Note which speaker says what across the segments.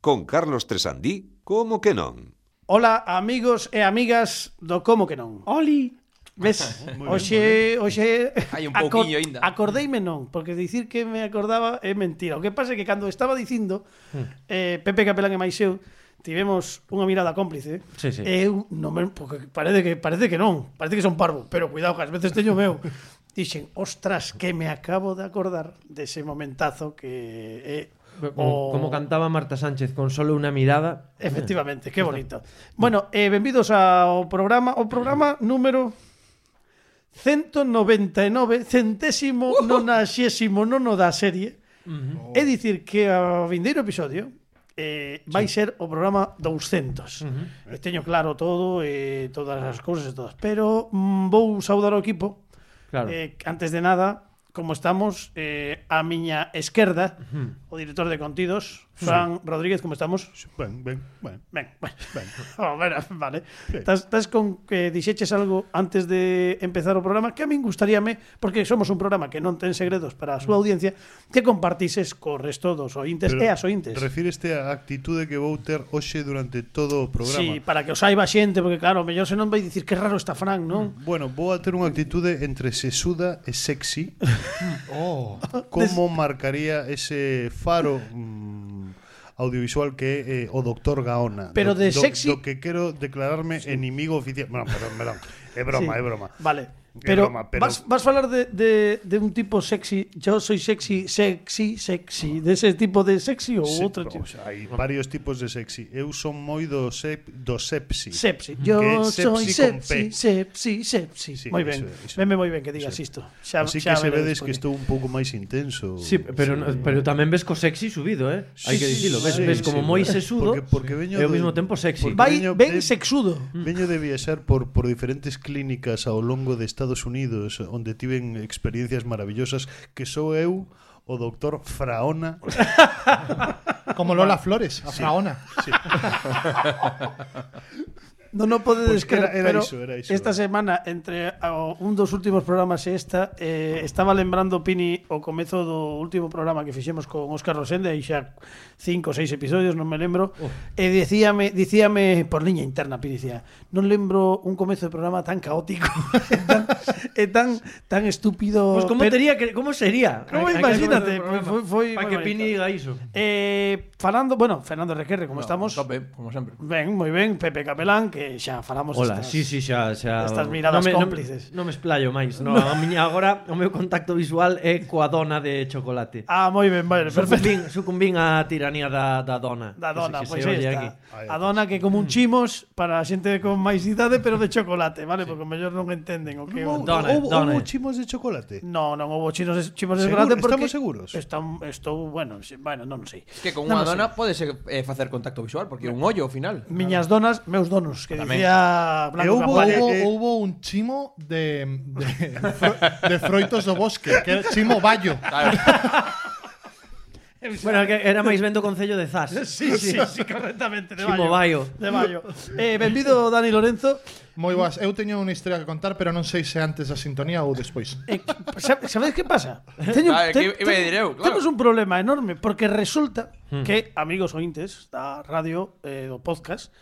Speaker 1: Con Carlos Tresandí, como que non?
Speaker 2: Ola, amigos e amigas do Como que non. Oli, ves? Oxe, oxe,
Speaker 3: Hai un pouquiño aínda.
Speaker 2: Acordeime non, porque dicir que me acordaba é mentira. O que pasa é que cando estaba dicindo eh, Pepe Capelán e máis eu tivemos unha mirada cómplice.
Speaker 4: Sí, sí.
Speaker 2: Eu non me, porque parece que parece que non, parece que son parvo, pero cuidado que ás veces teño meu. Dixen, ostras, que me acabo de acordar dese momentazo que eh, é Oh.
Speaker 4: Como, como cantaba Marta Sánchez con solo una mirada.
Speaker 2: Efectivamente, qué bonito. Bueno, eh, benvidos ao programa, o programa número 199, centésimo nonaxésimo nono da serie.
Speaker 5: Oh.
Speaker 2: É dicir que a vindeiro episodio eh, vai ser o programa 200. E Teño claro todo, eh, todas as cousas e todas. Pero mm, vou saudar ao equipo.
Speaker 4: Claro.
Speaker 2: Eh, antes de nada, como estamos, eh, a miña esquerda, o director de contidos, Fran Rodríguez, como estamos?
Speaker 6: Ben, ben, ben.
Speaker 2: Ben, ben, ben. Oh, ben vale. Estás sí. con que dixeches algo antes de empezar o programa que a min gustaríame, porque somos un programa que non ten segredos para a súa audiencia, que compartises co resto dos ointes e as ointes.
Speaker 6: Refíreste á actitude que vou ter hoxe durante todo o
Speaker 2: Sí,
Speaker 6: programa.
Speaker 2: para que os saiba a xente, porque claro, mellor se non vai dicir que raro está Fran, non?
Speaker 6: Bueno, vou a ter unha actitude entre sesuda e sexy. oh. Como marcaría ese faro mm, audiovisual que é eh, o Doctor Gaona.
Speaker 2: Pero
Speaker 6: do,
Speaker 2: de
Speaker 6: do-
Speaker 2: sexy-
Speaker 6: Do que quero declararme enemigo oficial. Bueno, perdón, perdón. É broma,
Speaker 2: Sí.
Speaker 6: Mm, é broma.
Speaker 2: Vale.
Speaker 6: Que
Speaker 2: Pero,
Speaker 6: broma, pero-
Speaker 2: vas, vas a falar de, de, de un tipo sexy, yo soy sexy, sexy, sexy, de ese tipo de sexy ou
Speaker 6: Sí,
Speaker 2: outro tipo.
Speaker 6: o sea, hai varios tipos de sexy. Eu son moi do, sep, do sepsi.
Speaker 2: Sepsi.
Speaker 6: Mm. Que
Speaker 2: Yo
Speaker 6: é sepsi
Speaker 2: soy
Speaker 6: con
Speaker 2: sepsi,
Speaker 6: P.
Speaker 2: sepsi, sepsi.
Speaker 6: Sí,
Speaker 2: moi
Speaker 6: eso
Speaker 2: ben.
Speaker 6: é, eso é.
Speaker 2: Venme moi ben que digas
Speaker 6: Eso é.
Speaker 2: isto. Xa,
Speaker 6: Así
Speaker 2: xa
Speaker 6: que se
Speaker 2: veredes
Speaker 6: vedes
Speaker 2: por
Speaker 6: que
Speaker 2: qué.
Speaker 6: estou un pouco máis intenso.
Speaker 4: Sí, pero, pero tamén ves co sexy subido, eh? Hai que dicilo, ves,
Speaker 6: sí,
Speaker 4: ves
Speaker 6: sí,
Speaker 4: como
Speaker 6: sí.
Speaker 4: moi sesudo
Speaker 6: Porque- porque veño
Speaker 4: e ao
Speaker 6: de-
Speaker 4: mesmo tempo sexy.
Speaker 6: porque-
Speaker 2: Vai
Speaker 6: Veño-
Speaker 2: ben
Speaker 6: ve-
Speaker 2: sexudo.
Speaker 6: Veño de viaxar por, por diferentes clínicas ao longo de Estados Unidos onde tiven experiencias maravillosas que sou eu o doctor Fraona
Speaker 7: Como Lola Flores, a Fraona.
Speaker 2: Non o podedes
Speaker 6: Pois era-
Speaker 2: creer,
Speaker 6: era
Speaker 2: pero
Speaker 6: iso, era iso.
Speaker 2: esta semana entre ao- un dos últimos programas e esta eh, estaba lembrando Pini o comezo do último programa que fixemos con Óscar Rosende e xa cinco ou seis episodios, non me lembro. E dicíame, dicíame por liña interna Pini dicía, non lembro un comezo de programa tan caótico, e tan, e tan tan estúpido.
Speaker 4: Pois como
Speaker 2: pero-
Speaker 4: tería que como sería?
Speaker 2: Como
Speaker 4: Hai- hai que
Speaker 2: imagínate,
Speaker 4: facer o programa.
Speaker 2: foi- foi
Speaker 4: Pa
Speaker 2: moi
Speaker 4: que
Speaker 2: bonito.
Speaker 4: Pini diga iso.
Speaker 2: Eh, Fernando, bueno, Fernando Requerre, como estamos?
Speaker 3: Tope, como sempre.
Speaker 2: Ben, moi ben, Pepe Capelán, que xa falamos
Speaker 4: Hola,
Speaker 2: estas-
Speaker 4: sí, sí, xa, xa.
Speaker 2: estas miradas
Speaker 4: non me,
Speaker 2: cómplices.
Speaker 4: Non, non me esplayo máis, no, a miña agora o meu contacto visual é coa dona de chocolate.
Speaker 2: Ah, moi ben, vale, perfecto.
Speaker 4: Sucumbín, sucumbín á tiranía da, da dona.
Speaker 2: Da dona,
Speaker 4: Que
Speaker 2: pois
Speaker 4: se- que se
Speaker 2: aí
Speaker 4: oye
Speaker 2: está. A dona que como un chimos para a xente con máis idade, pero de chocolate, vale? Porque o mellor non entenden o que é. un-
Speaker 4: Dona.
Speaker 6: Houbo- houbo
Speaker 4: Donald.
Speaker 6: chimos de chocolate
Speaker 2: No, non houbo chinos, de- chimos de
Speaker 6: Seguro,
Speaker 2: chocolate porque
Speaker 6: estamos seguros?
Speaker 2: Estam, estou, bueno, se- bueno, non sei.
Speaker 3: Que con
Speaker 2: Non o
Speaker 3: unha
Speaker 2: sei.
Speaker 3: dona podes eh, facer contacto visual, porque é un ollo ao final.
Speaker 2: Miñas donas, meus donos, que
Speaker 3: Tamén.
Speaker 2: dicía
Speaker 6: E
Speaker 2: Blanco
Speaker 6: houbo-
Speaker 7: Hubo,
Speaker 2: Campaña.
Speaker 6: eh,
Speaker 7: hubo,
Speaker 6: eh.
Speaker 7: hubo un chimo de, de, fro- de Froitos do Bosque, que era Chimo Bayo.
Speaker 4: Bueno, que era máis vendo o concello de Zas.
Speaker 2: Sí, sí, sí, correctamente, de
Speaker 4: Chimo
Speaker 2: Baio.
Speaker 4: Baio.
Speaker 2: De Baio. Eh, benvido Dani Lorenzo.
Speaker 7: Moi boas. Eu teño unha historia que contar, pero non sei se antes da sintonía ou despois.
Speaker 2: Eh, sa- ¿Sabéis qué pasa? Teño,
Speaker 3: Ah, que iba a decir eu, claro.
Speaker 2: Tenemos un problema enorme porque resulta que, amigos ointes da radio eh, do podcast,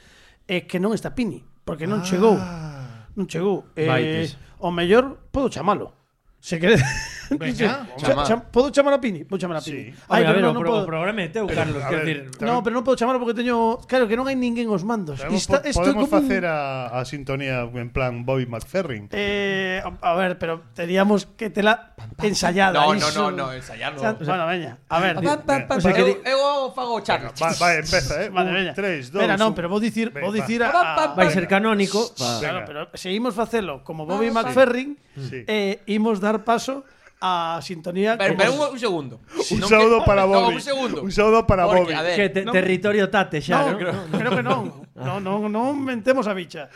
Speaker 2: eh, que non está Pini, porque non chegou. Non chegou. Eh,
Speaker 4: Vaites.
Speaker 2: o mellor, podo chamalo. Se quere...
Speaker 7: Veña,
Speaker 2: Cha- cha- podo chamar a Pini? Vou chamar a Pini.
Speaker 6: Sí.
Speaker 4: Ay, a ver, o,
Speaker 2: non
Speaker 4: pro,
Speaker 2: podo-
Speaker 4: o programa é teu, Carlos,
Speaker 6: a
Speaker 4: quero
Speaker 6: ver,
Speaker 4: decir,
Speaker 2: No, pero non podo chamar porque teño... Claro, que non hai ninguén os mandos.
Speaker 6: Podemos,
Speaker 2: Está-
Speaker 6: po-
Speaker 2: esto é como
Speaker 6: podemos
Speaker 2: un-
Speaker 6: facer a, a sintonía en plan Bobby McFerrin
Speaker 2: Eh, a, a ver, pero teníamos que tela ensayada.
Speaker 3: No, no,
Speaker 2: iso.
Speaker 3: no, no, ensayar no.
Speaker 2: O sea, bueno, veña, a ver.
Speaker 4: o sea, que di-
Speaker 3: Eu, eu fago o Charlie.
Speaker 6: Va, va, empeza, eh
Speaker 2: Vale, veña.
Speaker 6: 3, 2,
Speaker 2: Espera, non, pero vou dicir,
Speaker 6: Ve,
Speaker 2: vou
Speaker 6: va.
Speaker 2: dicir a, a-
Speaker 4: vai ser canónico. pa-
Speaker 2: Claro,
Speaker 6: Venga.
Speaker 2: pero seguimos facelo como Bobby McFerrin,
Speaker 6: Sí.
Speaker 2: eh, imos dar paso á sintonía
Speaker 3: Pero,
Speaker 2: como-
Speaker 3: pero un, un segundo.
Speaker 6: Un saúdo para
Speaker 3: no,
Speaker 6: Bobby
Speaker 3: un segundo.
Speaker 6: Un saúdo para
Speaker 3: Porque,
Speaker 6: Bobby
Speaker 3: a ver,
Speaker 4: Que te,
Speaker 2: no.
Speaker 4: territorio tate xa,
Speaker 2: no,
Speaker 4: ¿no?
Speaker 2: creo, creo que non. No, no, non mentemos a bicha.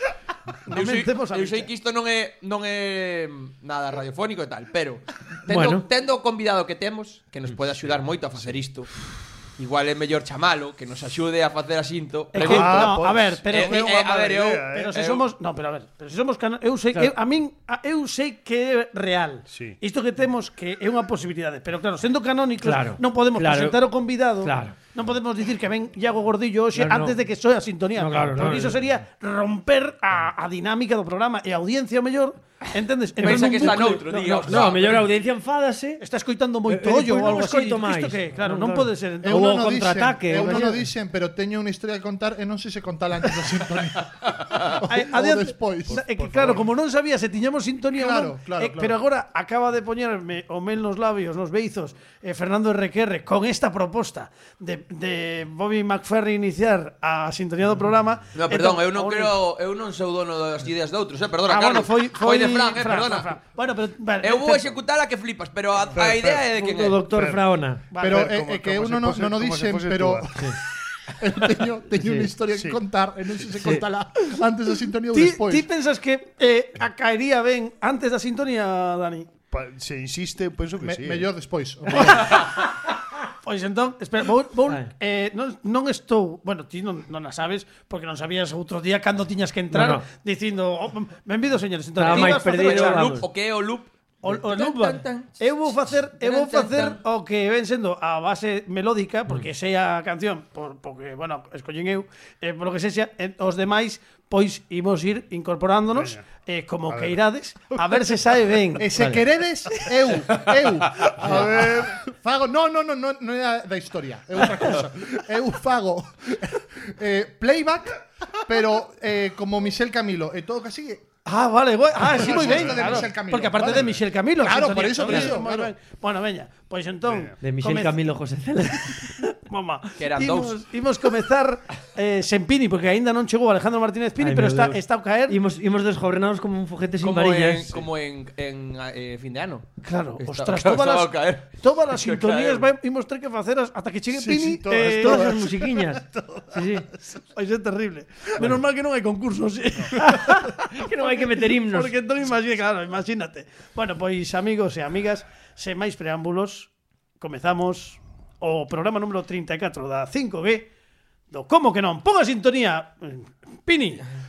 Speaker 2: Non
Speaker 3: eu sei,
Speaker 2: mentemos a
Speaker 3: eu
Speaker 2: bicha.
Speaker 3: sei que isto non é non é nada radiofónico e tal, pero tendo,
Speaker 4: Bueno.
Speaker 3: tendo o convidado que temos que nos pode axudar moito a facer isto. Igual é mellor chamalo que nos axude a facer asinto.
Speaker 2: É que-
Speaker 3: Pregunto.
Speaker 2: no, a ver, pero
Speaker 3: Eh, eh,
Speaker 2: eu-
Speaker 3: eh, a ver, eu,
Speaker 6: idea, eh.
Speaker 2: Pero se
Speaker 3: eu-
Speaker 2: somos, no, pero a ver, pero se somos cano- eu sei eu, a min a- eu sei que é real.
Speaker 6: Sí.
Speaker 2: Isto que temos que é unha posibilidade, pero claro, sendo canónicos
Speaker 4: Claro,
Speaker 2: non podemos
Speaker 4: claro.
Speaker 2: presentar o convidado.
Speaker 4: Claro.
Speaker 2: non podemos dicir que ven Iago Gordillo hoxe
Speaker 4: No, no.
Speaker 2: antes de que soe a sintonía.
Speaker 4: No, claro,
Speaker 2: Porque
Speaker 4: no,
Speaker 2: iso
Speaker 4: no.
Speaker 2: sería romper a, a dinámica do programa e a audiencia ao mellor, entendes? Entra
Speaker 3: Pensa
Speaker 2: nun
Speaker 3: que está
Speaker 2: bucle.
Speaker 3: noutro,
Speaker 2: No,
Speaker 3: diga,
Speaker 2: no,
Speaker 3: hostia,
Speaker 4: No, a mellor a audiencia enfádase.
Speaker 2: Está escoitando moito
Speaker 4: Eh, eh,
Speaker 2: ollo
Speaker 4: pois
Speaker 2: ou
Speaker 4: non
Speaker 2: algo así.
Speaker 4: escoito máis.
Speaker 2: Isto que, Eh, claro, non
Speaker 4: Non, claro.
Speaker 2: pode ser.
Speaker 4: Eu
Speaker 2: Entón,
Speaker 7: Eu non
Speaker 4: Hubo
Speaker 7: o dixen,
Speaker 4: contraataque,
Speaker 7: eu non o
Speaker 4: vaya.
Speaker 7: dixen, pero teño unha historia que contar e non sei se contala antes da sintonía. ou,
Speaker 2: Ai,
Speaker 7: ou
Speaker 2: adiante.
Speaker 7: despois.
Speaker 2: Na- é que, claro, eh, como non sabía se tiñamos sintonía
Speaker 7: Claro,
Speaker 2: ou non,
Speaker 7: claro,
Speaker 2: eh,
Speaker 7: claro.
Speaker 2: pero agora acaba de poñerme o mel nos labios, nos beizos, eh, Fernando RQR con esta proposta de, de Bobby McFerry iniciar a sintonía
Speaker 7: Mm.
Speaker 2: do programa.
Speaker 3: No, perdón,
Speaker 2: Entón,
Speaker 3: eu non
Speaker 2: ahora-
Speaker 3: quero, eu non sou dono das ideas de outros, eh, perdona,
Speaker 2: Ah, bueno,
Speaker 3: Carlos.
Speaker 2: foi, foi,
Speaker 3: foi de Fran, eh,
Speaker 2: Fran,
Speaker 3: perdona.
Speaker 2: Fran, Fran. Bueno, pero vale,
Speaker 3: Eu vou
Speaker 2: te-
Speaker 3: executar a que flipas, pero a, a Ah, idea é de que
Speaker 4: O doctor Fraona.
Speaker 2: vale,
Speaker 7: pero eh,
Speaker 6: Fer,
Speaker 7: é,
Speaker 6: como-
Speaker 7: é que eu
Speaker 6: como se
Speaker 7: non, o-
Speaker 6: fose-
Speaker 7: non o
Speaker 6: como se
Speaker 7: dixen,
Speaker 6: fose
Speaker 7: pero
Speaker 6: túa.
Speaker 7: eu teño, teño
Speaker 4: Sí,
Speaker 7: unha historia
Speaker 6: sí.
Speaker 7: que contar e non sei se contala antes da sintonía ou
Speaker 2: Ti,
Speaker 7: despois.
Speaker 2: ti pensas que eh, acaería ben antes da sintonía, Dani?
Speaker 6: Pa- se insiste, penso que
Speaker 7: Me,
Speaker 6: sí. eh.
Speaker 7: Mellor despois.
Speaker 2: Pois entón, espera, vou, vou
Speaker 4: Ai.
Speaker 2: eh, non, non estou, bueno, ti non, non a sabes porque non sabías outro día cando tiñas que
Speaker 4: No,
Speaker 2: entrar
Speaker 4: no.
Speaker 2: dicindo, oh, benvido señores, entón,
Speaker 4: Estaba
Speaker 2: ti
Speaker 4: máis
Speaker 2: vas facer o
Speaker 3: O
Speaker 4: perdido,
Speaker 2: chat.
Speaker 3: loop,
Speaker 4: Vamos.
Speaker 3: o que é o loop?
Speaker 2: O, Eh, o Nuba.
Speaker 3: tan.
Speaker 2: Eu vou facer, eu vou
Speaker 3: Tan, tan,
Speaker 2: facer
Speaker 3: tan.
Speaker 2: o que ven sendo a base melódica, porque sei a canción, por, porque, bueno, escollín eu, eh, polo que sexa, eh, os demais, pois imos ir incorporándonos, eh, como que irades, a ver se sae ben.
Speaker 7: E se queredes, eu, eu, a ver, fago, no, no, no, no, non é da- da historia, é outra cosa. Eu fago eh, playback, pero eh, como Michel Camilo, e todo que sigue.
Speaker 2: Ah, vale, guai. Ah, sí,
Speaker 7: Pero
Speaker 2: moi
Speaker 7: eso
Speaker 2: ben.
Speaker 7: es de
Speaker 2: Claro,
Speaker 7: Michel Camilo,
Speaker 2: porque aparte de
Speaker 7: vale.
Speaker 2: Michel Camilo.
Speaker 7: Claro,
Speaker 2: sintonía,
Speaker 7: por eso, por
Speaker 2: claro,
Speaker 7: eso,
Speaker 2: moi
Speaker 7: claro.
Speaker 2: ben. Bueno, veña, pois entón,
Speaker 4: De Michel
Speaker 2: comez-
Speaker 4: Camilo José Cela.
Speaker 2: Mamá,
Speaker 3: Que eran
Speaker 2: imos, imos comezar eh, sen Pini, porque aínda non chegou Alejandro Martínez Pini,
Speaker 4: Ai,
Speaker 2: pero
Speaker 4: meu
Speaker 2: está,
Speaker 4: Deus.
Speaker 2: está a caer.
Speaker 4: Imos, imos desgobernados como un foguete sin
Speaker 3: Como en,
Speaker 4: varillas.
Speaker 3: como en, en a- eh, fin de ano.
Speaker 2: Claro,
Speaker 3: Está-
Speaker 2: ostras,
Speaker 3: claro,
Speaker 2: todas
Speaker 3: estaba
Speaker 2: las,
Speaker 3: a caer.
Speaker 2: todas las
Speaker 3: Estaba a
Speaker 2: sintonías
Speaker 3: caer.
Speaker 2: vai- imos ter que faceras hasta que chegue
Speaker 6: Sí,
Speaker 2: Pini.
Speaker 6: sí, todas,
Speaker 2: eh,
Speaker 4: Todas as musiquiñas. Sí, sí.
Speaker 2: Vai ser terrible. Menos mal que non hai concursos. sí.
Speaker 4: Que non hai que meter himnos.
Speaker 2: Porque entón imagínate, claro, imagínate. Bueno, pois amigos e amigas, sen máis preámbulos, comezamos o programa número 34 da 5G do Como que non? Pon a sintonía, Pini.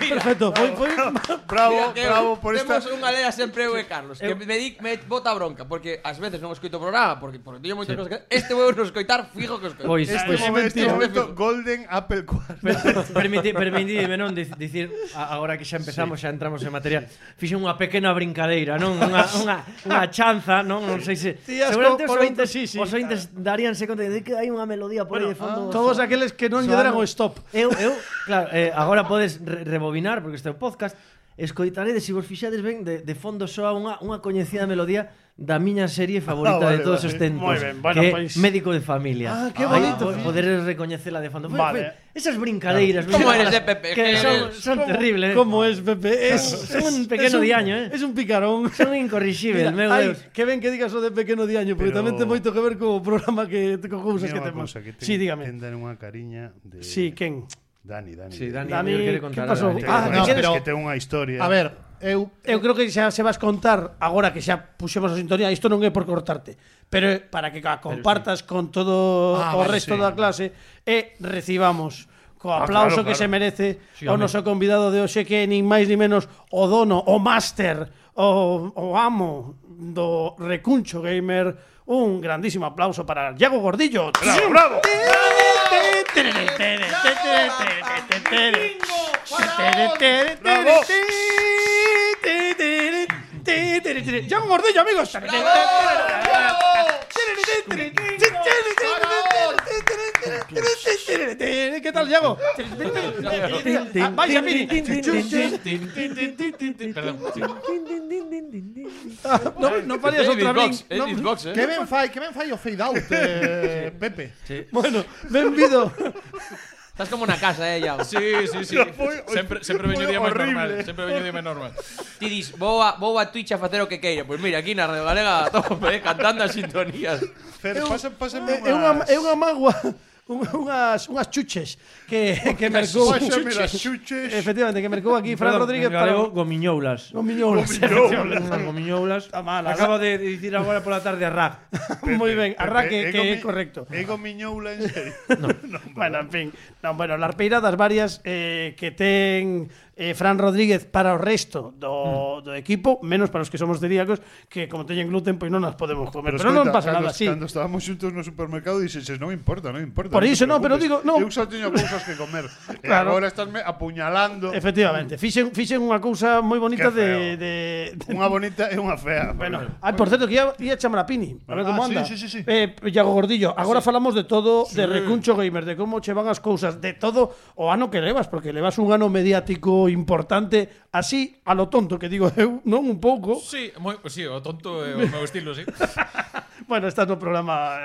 Speaker 2: Perfecto, foi- foi-
Speaker 6: Bravo,
Speaker 3: Mira que
Speaker 6: bravo por esta.
Speaker 3: Temos unha lea sempre eu e Carlos Que me, di, me bota bronca Porque ás veces non escoito o programa Porque, porque teño moitas cosas que Este vou non escoitar fijo que escoito
Speaker 4: Pois,
Speaker 2: Ah,
Speaker 6: Este,
Speaker 4: pois
Speaker 6: momento, este
Speaker 3: mentira.
Speaker 6: momento, Golden Apple 4.
Speaker 4: permiti, permitideme non dic- dicir a- agora que xa empezamos, xa entramos en materia. Fixen unha pequena brincadeira, non, unha unha unha chanza, non, non sei se
Speaker 2: Ti as
Speaker 4: seguramente os
Speaker 2: co-
Speaker 4: ointes,
Speaker 2: sí, sí.
Speaker 4: os ointes daríanse conta de que hai unha melodía por aí de
Speaker 2: Bueno,
Speaker 4: fondo.
Speaker 2: ah, todos aqueles que non lle deran o stop.
Speaker 4: Eu, eu, claro, eh, agora podes re rebobinar, porque este é o podcast, escoitaredes, se vos fixades ben, de, de fondo soa unha, unha coñecida melodía da miña serie favorita
Speaker 6: Ah,
Speaker 4: de
Speaker 6: vale,
Speaker 4: todos
Speaker 6: vale.
Speaker 4: os
Speaker 2: Moi
Speaker 4: tempos,
Speaker 2: ben, bueno,
Speaker 4: que é
Speaker 2: pois-
Speaker 4: Médico de Familia.
Speaker 2: Ah, que
Speaker 4: Aí
Speaker 2: bonito,
Speaker 4: po-
Speaker 2: sí.
Speaker 4: Poderes recoñecela de fondo. Foi,
Speaker 2: Vale.
Speaker 4: foi esas brincadeiras.
Speaker 3: Como
Speaker 4: non?
Speaker 3: eres de Pepe,
Speaker 4: Que
Speaker 3: que
Speaker 4: son,
Speaker 3: eres.
Speaker 4: son terribles.
Speaker 2: ¿Cómo es, Pepe? Es,
Speaker 4: Es un pequeno diaño, eh.
Speaker 2: Es un picarón.
Speaker 4: Son incorrixibles, meu
Speaker 2: ai,
Speaker 4: Deus.
Speaker 2: que ben que digas o de pequeno diaño, porque
Speaker 6: Pero-
Speaker 2: tamén ten moito que ver co programa que co cousas pues, que temos. Sí, dígame.
Speaker 6: Ten dar unha cariña de
Speaker 2: Sí, quen?
Speaker 6: Dani, Dani.
Speaker 4: Sí, Dani,
Speaker 2: Dani,
Speaker 4: mellor quere
Speaker 2: que
Speaker 4: contar
Speaker 2: pasou?
Speaker 4: algo.
Speaker 2: Ah,
Speaker 6: Ah,
Speaker 2: no,
Speaker 6: no,
Speaker 2: pero-
Speaker 6: pero que ten unha historia.
Speaker 7: A ver, eu
Speaker 2: Eu creo que xa se vas contar agora que xa puxemos a sintonía, isto non é por cortarte, pero é para que a compartas con todo
Speaker 7: Ah,
Speaker 2: o
Speaker 7: vale,
Speaker 2: resto
Speaker 6: sí.
Speaker 2: da clase e recibamos co
Speaker 6: Ah,
Speaker 2: aplauso
Speaker 6: claro,
Speaker 2: que
Speaker 6: claro.
Speaker 2: se merece
Speaker 4: Sí,
Speaker 2: o
Speaker 4: home.
Speaker 2: noso convidado de hoxe que é nin máis ni menos o dono, o máster, o, o amo do Recuncho Gamer. Un grandísimo aplauso para Iago Gordillo.
Speaker 6: Bravo, bravo. Bravo.
Speaker 2: John Gordillo, amigos. Eh, ¿Qué tal, Yago?
Speaker 8: Eh,
Speaker 2: Vaya, Pini. No,
Speaker 8: Eh,
Speaker 2: no
Speaker 3: É
Speaker 2: fallas otra
Speaker 3: beatbox,
Speaker 2: vez.
Speaker 3: é
Speaker 2: No-
Speaker 3: beatbox, eh.
Speaker 7: que ben fai, que ben fai o fade out, eh, Pepe.
Speaker 2: Bueno, bienvenido.
Speaker 3: Estás como na casa, eh, Iago
Speaker 9: Sí, sí, sí. Sempre, sempre veño día máis normal. Sempre veño día máis normal.
Speaker 3: Ti dis, vou a, vou a Twitch a facer o que queira Pois mira, aquí na Radio Galega a tope, eh, cantando as sintonías
Speaker 6: Fer, pasa, pásame
Speaker 2: É é unha é unha magua un- unhas, unhas chuches que, que mercou.
Speaker 6: Páxame las chuches.
Speaker 2: Efectivamente, que mercou aquí Fran
Speaker 4: Perdón,
Speaker 2: Rodríguez
Speaker 4: en galego,
Speaker 2: para...
Speaker 4: gomiñoulas.
Speaker 2: Gomiñoulas.
Speaker 4: As gomiñoulas.
Speaker 2: Está mal,
Speaker 4: Acabo de dicir agora pola tarde a Rag.
Speaker 2: Muy bien, arra que,
Speaker 6: Pepe,
Speaker 2: que
Speaker 6: Ego
Speaker 2: é
Speaker 6: Mi-
Speaker 2: correcto.
Speaker 6: Ego Miñoula, en serio.
Speaker 2: Bueno, en fin. Non, bueno, las peiradas varias eh, que ten eh, Fran Rodríguez para o resto
Speaker 6: Mm.
Speaker 2: do, do equipo, menos para os que somos celíacos, que como teñen gluten, pois non as podemos comer. Pero, non
Speaker 6: escoita,
Speaker 2: pasa
Speaker 6: cando-
Speaker 2: nada, sí.
Speaker 6: Cando estábamos xuntos no supermercado dixeches, non me importa, non me importa.
Speaker 2: Por
Speaker 6: non te
Speaker 2: iso non, pero
Speaker 6: preocupes.
Speaker 2: digo, non.
Speaker 6: Eu só teño cousas que comer.
Speaker 2: Claro.
Speaker 6: claro. E agora estasme apuñalando. Mm.
Speaker 2: Efectivamente, fixen, fixen unha cousa moi bonita
Speaker 6: Qué feo.
Speaker 2: de, de, de...
Speaker 6: Unha bonita e unha fea.
Speaker 2: Bueno, ah, por certo, que ia, ia chamar a Pini A ver
Speaker 6: Ah,
Speaker 2: como
Speaker 6: sí,
Speaker 2: anda
Speaker 6: sí, sí, sí.
Speaker 2: Eh, Iago Gordillo, agora falamos de todo De recuncho gamer, de como che van as cousas De todo o ano que levas Porque levas un ano mediático importante Así, a lo tonto que digo eu Non un pouco
Speaker 9: Sí, moi, sí, o tonto é o meu estilo, sí.
Speaker 2: Bueno, estás no programa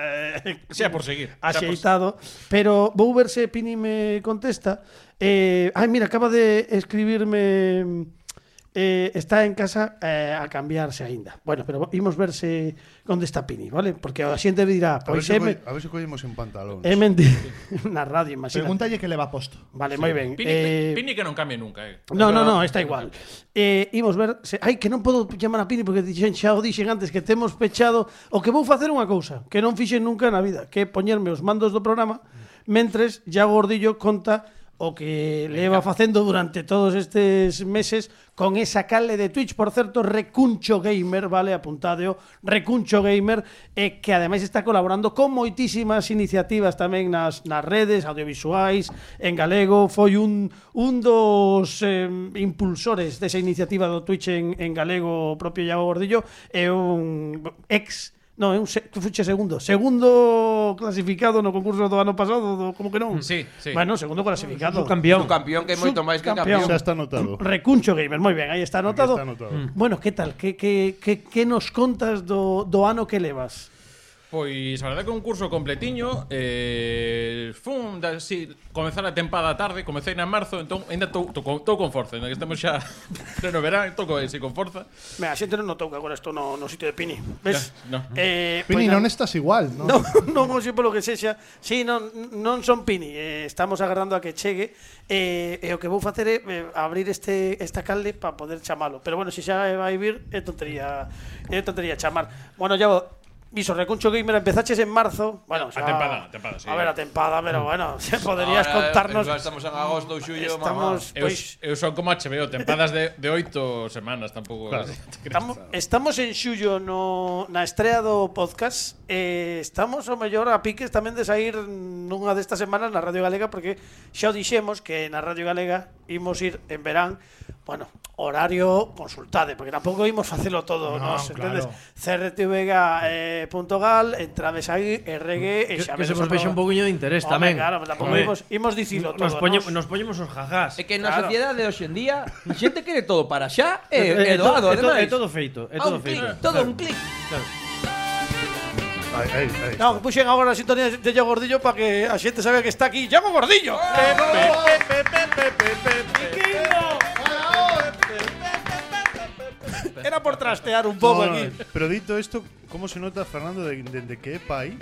Speaker 2: eh,
Speaker 9: Sea por seguir. Sea por...
Speaker 2: axeitado, pero vou ver se Pini me contesta. Eh, ai, mira, acaba de escribirme eh, está en casa eh, a cambiarse aínda. Bueno, pero imos ver se onde está Pini, vale? Porque a xente dirá, "Pues
Speaker 6: a ver
Speaker 2: pois
Speaker 6: se
Speaker 2: é,
Speaker 6: colle-
Speaker 2: me,
Speaker 6: a ver se collemos en pantalóns.
Speaker 2: é mentir na radio, imagínate.
Speaker 7: Pregúntalle que le va posto.
Speaker 2: Vale, moi ben.
Speaker 9: Pini,
Speaker 2: eh,
Speaker 9: Pini que non cambia nunca, eh.
Speaker 2: No, no, no, está igual. Eh, imos ver, se, ai que non podo chamar a Pini porque dixen xa o dixen antes que temos pechado o que vou facer é unha cousa que non fixen nunca na vida, que é poñerme os mandos do programa mentres ya Gordillo conta o que leva facendo durante todos estes meses con esa cale de Twitch, por certo, Recuncho Gamer, vale, apuntadeo, Recuncho Gamer, eh, que ademais está colaborando con moitísimas iniciativas tamén nas, nas redes audiovisuais, en galego, foi un, un dos eh, impulsores desa iniciativa do Twitch en, en galego o propio Iago Gordillo, é un ex No, é un se, tú fuche segundo, segundo clasificado no concurso do ano pasado, do, como que non?
Speaker 9: Sí, sí.
Speaker 2: Bueno, segundo clasificado.
Speaker 4: Campeón.
Speaker 3: Un campeón que é moito máis que
Speaker 2: Subcampeón.
Speaker 3: campeón.
Speaker 6: Xa está anotado.
Speaker 2: Recuncho Gamer, moi ben, aí está anotado.
Speaker 6: Aquí está anotado. Mm.
Speaker 2: Bueno, que tal? Que, que, que, que nos contas do, do ano que levas?
Speaker 9: Pois, a verdade que un curso completiño eh, Fun, da, si, comezar a tempada tarde Comecei na marzo, entón, ainda estou con forza Ainda que estamos xa pleno verán Estou con, si, con forza
Speaker 2: Me, a xente non notou que agora estou no, no sitio de Pini. Ves?
Speaker 9: Ya, no.
Speaker 2: Eh,
Speaker 7: Pini,
Speaker 2: pois na-
Speaker 7: non estás igual, non?
Speaker 2: Non, non hoxe polo que sexa Si, non, non son Pini eh, Estamos agardando a que chegue eh, E o que vou facer é eh, abrir este, esta calde Para poder chamalo Pero bueno, se xa vai vir É tontería, é tontería chamar Bueno, ya Viso, Recuncho Gamer empezaches en marzo Bueno, xa,
Speaker 9: tempada, a tempada, sí. Mm.
Speaker 2: A ver, a tempada, pero bueno Se poderías
Speaker 3: Ahora,
Speaker 2: contarnos
Speaker 3: igual Estamos en agosto, xullo,
Speaker 2: Estamos-
Speaker 3: mamá.
Speaker 9: Eu,
Speaker 2: Pois-
Speaker 9: eu son como HBO, tempadas de, de oito semanas Tampouco claro.
Speaker 2: Estamos, estamos en xullo no, na estrea do podcast eh, Estamos o mellor a piques tamén de sair nunha destas semanas na Radio Galega Porque xa o dixemos que na Radio Galega imos ir en verán Bueno, horario consultade Porque tampouco imos facelo todo no, nos, entendes? eh, CRTVega.gal, entrades aí, RG e
Speaker 4: Que,
Speaker 2: xa
Speaker 4: que se
Speaker 2: vedes
Speaker 4: vos
Speaker 2: o
Speaker 4: vexe un
Speaker 2: programa.
Speaker 4: pouquiño de interés
Speaker 2: Home,
Speaker 4: tamén.
Speaker 2: Claro, pero tampouco
Speaker 4: Home,
Speaker 2: imos, imos dicilo todo
Speaker 4: nos, poñemos,
Speaker 2: nos.
Speaker 4: nos poñemos os jajás.
Speaker 3: É que na
Speaker 2: Claro.
Speaker 3: sociedade de hoxendía A xente quere todo para xa E,
Speaker 4: É-
Speaker 3: e,
Speaker 4: é to-
Speaker 3: doado,
Speaker 4: é to-
Speaker 3: ademais
Speaker 4: É todo feito, é
Speaker 3: A
Speaker 4: todo
Speaker 3: un clic,
Speaker 4: feito.
Speaker 3: todo un clic
Speaker 6: Ahí, ahí, ahí.
Speaker 2: Non, puxen agora a sintonía de Iago Gordillo para que a xente sabe que está aquí Iago Gordillo. Era por trastear un pouco
Speaker 6: No, no,
Speaker 2: aquí.
Speaker 6: Pero dito esto, como se nota Fernando de, de, de que é pai?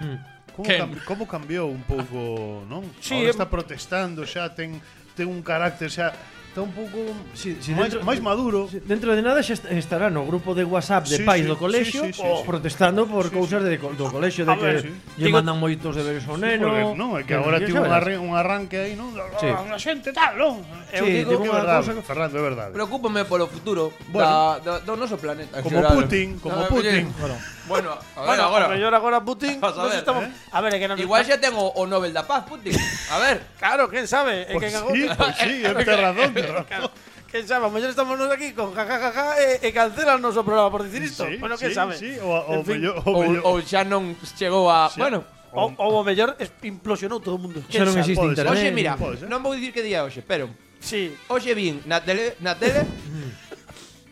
Speaker 4: Hmm.
Speaker 6: Como,
Speaker 9: Quen?
Speaker 6: cam, como cambiou un pouco, non?
Speaker 2: Sí,
Speaker 4: eh,
Speaker 6: Ahora
Speaker 2: em-
Speaker 6: está protestando xa, ten, ten un carácter xa, está un pouco
Speaker 4: Si- si
Speaker 6: máis,
Speaker 4: dentro-
Speaker 6: máis maduro.
Speaker 4: Si- Dentro de nada xa est- estará no grupo de WhatsApp de
Speaker 6: Sí,
Speaker 4: pais
Speaker 6: sí,
Speaker 4: do colexio
Speaker 6: sí, sí, sí,
Speaker 4: o
Speaker 6: sí. Ah,
Speaker 4: protestando por cousas de co- do colexio de
Speaker 2: A
Speaker 4: que
Speaker 2: ver,
Speaker 4: lle
Speaker 2: sí. Digo-
Speaker 4: mandan moitos deberes ao neno.
Speaker 6: Porque, non, é que agora
Speaker 4: Ya
Speaker 6: tivo un,
Speaker 4: saberás.
Speaker 6: arre, un arranque aí, non?
Speaker 4: Sí.
Speaker 6: Ah, Unha xente tal, non?
Speaker 4: Eu
Speaker 6: Eu
Speaker 4: Sí, digo- tivo
Speaker 6: digo que é
Speaker 4: unha
Speaker 6: verdade,
Speaker 4: cousa-
Speaker 6: Fernando, é verdade.
Speaker 3: Preocúpame polo futuro
Speaker 6: Bueno.
Speaker 3: da, da, do noso planeta en
Speaker 6: Como
Speaker 3: xeral.
Speaker 6: Putin,
Speaker 3: Ah,
Speaker 6: como Putin.
Speaker 3: oye, Bueno, a ver agora
Speaker 2: mellor agora Putin,
Speaker 3: Vas a
Speaker 2: nos
Speaker 3: ver,
Speaker 2: estamos
Speaker 3: eh.
Speaker 2: A ver, é que non
Speaker 3: Igual xa ten o, o Nobel da Paz, Putin A ver
Speaker 2: Claro, quen sabe, é que en
Speaker 4: Pues
Speaker 6: Pois sí,
Speaker 2: agosto
Speaker 6: pois sí, é que ten razón, ten razón.
Speaker 2: Claro, Quen sabe, ao mellor estamos nos aquí con jajajaja e, e cancelan noso eh, programa por dicir isto.
Speaker 6: Sí,
Speaker 2: bueno, quen
Speaker 6: sí,
Speaker 2: sabe.
Speaker 6: Sí, o,
Speaker 2: En
Speaker 6: o,
Speaker 2: fin,
Speaker 6: mellor, o,
Speaker 3: Ou,
Speaker 6: mellor-
Speaker 3: ou xa non chegou a... Bueno
Speaker 2: Ou, ou o mellor es- implosionou todo o mundo.
Speaker 4: Xa non
Speaker 2: Quen sabe?
Speaker 4: existe
Speaker 6: Pode ser.
Speaker 4: internet.
Speaker 3: Oxe, mira,
Speaker 6: Pode ser.
Speaker 3: non vou dicir que día é hoxe, pero
Speaker 2: Sí.
Speaker 3: Hoxe vin na tele, na tele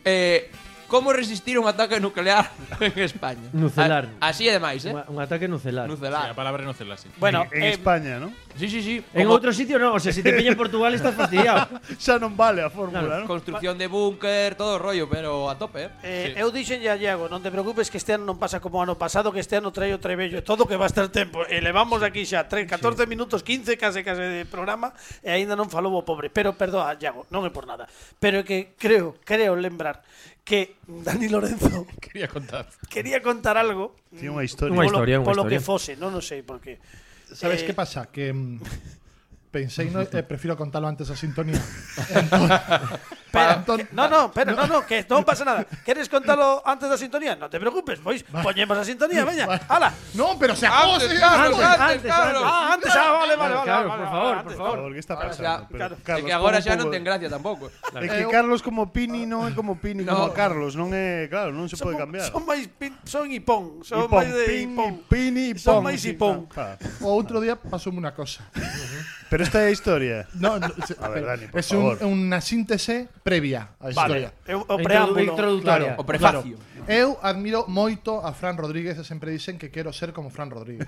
Speaker 3: eh, Como resistir un ataque nuclear en España?
Speaker 4: Nucelar.
Speaker 3: A- así ademais, eh?
Speaker 4: Un, un ataque nucelar.
Speaker 9: Sí, a
Speaker 3: Nucelar.
Speaker 9: palabra no celas, sí.
Speaker 2: Bueno,
Speaker 6: en
Speaker 2: eh,
Speaker 6: España, ¿no?
Speaker 3: Sí, sí, sí.
Speaker 4: En
Speaker 3: Como
Speaker 4: otro sitio no, o sea, si te pilla en Portugal estás fastidiado.
Speaker 6: Ya no vale a fórmula, ¿no?
Speaker 3: Construcción de búnker, todo rollo, pero a tope, eh?
Speaker 2: eh, eu dixenlle a Iago, non te preocupes que este ano non pasa como ano pasado, que este ano traio Trebello, todo que va a estar tempo. E levamos aquí xa 3, 14 minutos, 15 case case de programa e aínda non falou o pobre. Pero perdoa, Iago, non é por nada. Pero é que creo, creo lembrar que Dani Lorenzo
Speaker 9: Quería contar.
Speaker 2: quería contar algo
Speaker 6: Tiene una historia.
Speaker 4: Una
Speaker 2: polo-
Speaker 4: historia, unha
Speaker 2: polo que
Speaker 4: historia.
Speaker 2: fose, non o sei por que. Eh,
Speaker 7: ¿Sabes qué pasa? Que mm, pensé y no, eh, prefiero contarlo antes a sintonía.
Speaker 2: Espera,
Speaker 7: Antón-
Speaker 2: que- no, no, espera, no, no, que non pasa nada. Queres contalo antes da sintonía? Non te preocupes, pois poñemos a sintonía, veña. Hala.
Speaker 7: no, pero se
Speaker 3: Antes, Carlos, antes,
Speaker 4: antes, antes,
Speaker 3: Carlos.
Speaker 2: Ah, antes, ah, vale, vale, vale.
Speaker 4: Claro,
Speaker 2: vale, vale,
Speaker 4: por favor,
Speaker 2: antes.
Speaker 4: por
Speaker 6: Por
Speaker 4: favor.
Speaker 6: favor, ¿qué está
Speaker 3: Ahora
Speaker 6: pasando?
Speaker 3: ya-
Speaker 6: Pero,
Speaker 2: claro.
Speaker 6: Carlos,
Speaker 3: É que
Speaker 6: pon
Speaker 3: agora
Speaker 6: un
Speaker 3: xa non
Speaker 6: pouco-
Speaker 3: ten gracia tampouco.
Speaker 6: É
Speaker 3: Eh,
Speaker 6: que Carlos como Pini non é como Pini
Speaker 3: No.
Speaker 6: como Carlos, non é, claro, non se pode cambiar.
Speaker 2: Son máis pin- son ipón, son
Speaker 6: Ipón,
Speaker 2: máis de
Speaker 6: Pini,
Speaker 2: ipón.
Speaker 6: Pini,
Speaker 2: Son
Speaker 6: Pon,
Speaker 2: máis
Speaker 6: sí,
Speaker 2: ipón.
Speaker 6: Ah, pa.
Speaker 7: O otro día pasó una cosa.
Speaker 6: Pero esta é a historia.
Speaker 7: No, no, se-
Speaker 6: A ver, Dani, por
Speaker 7: es un-
Speaker 6: favor.
Speaker 7: una síntesis previa a la historia.
Speaker 2: Vale, eu- Eh, o
Speaker 4: Introdu-
Speaker 2: preámbulo.
Speaker 4: Introductoria.
Speaker 3: O prefacio.
Speaker 7: Eu admiro moito a Fran Rodríguez e sempre dicen que quero ser como Fran Rodríguez.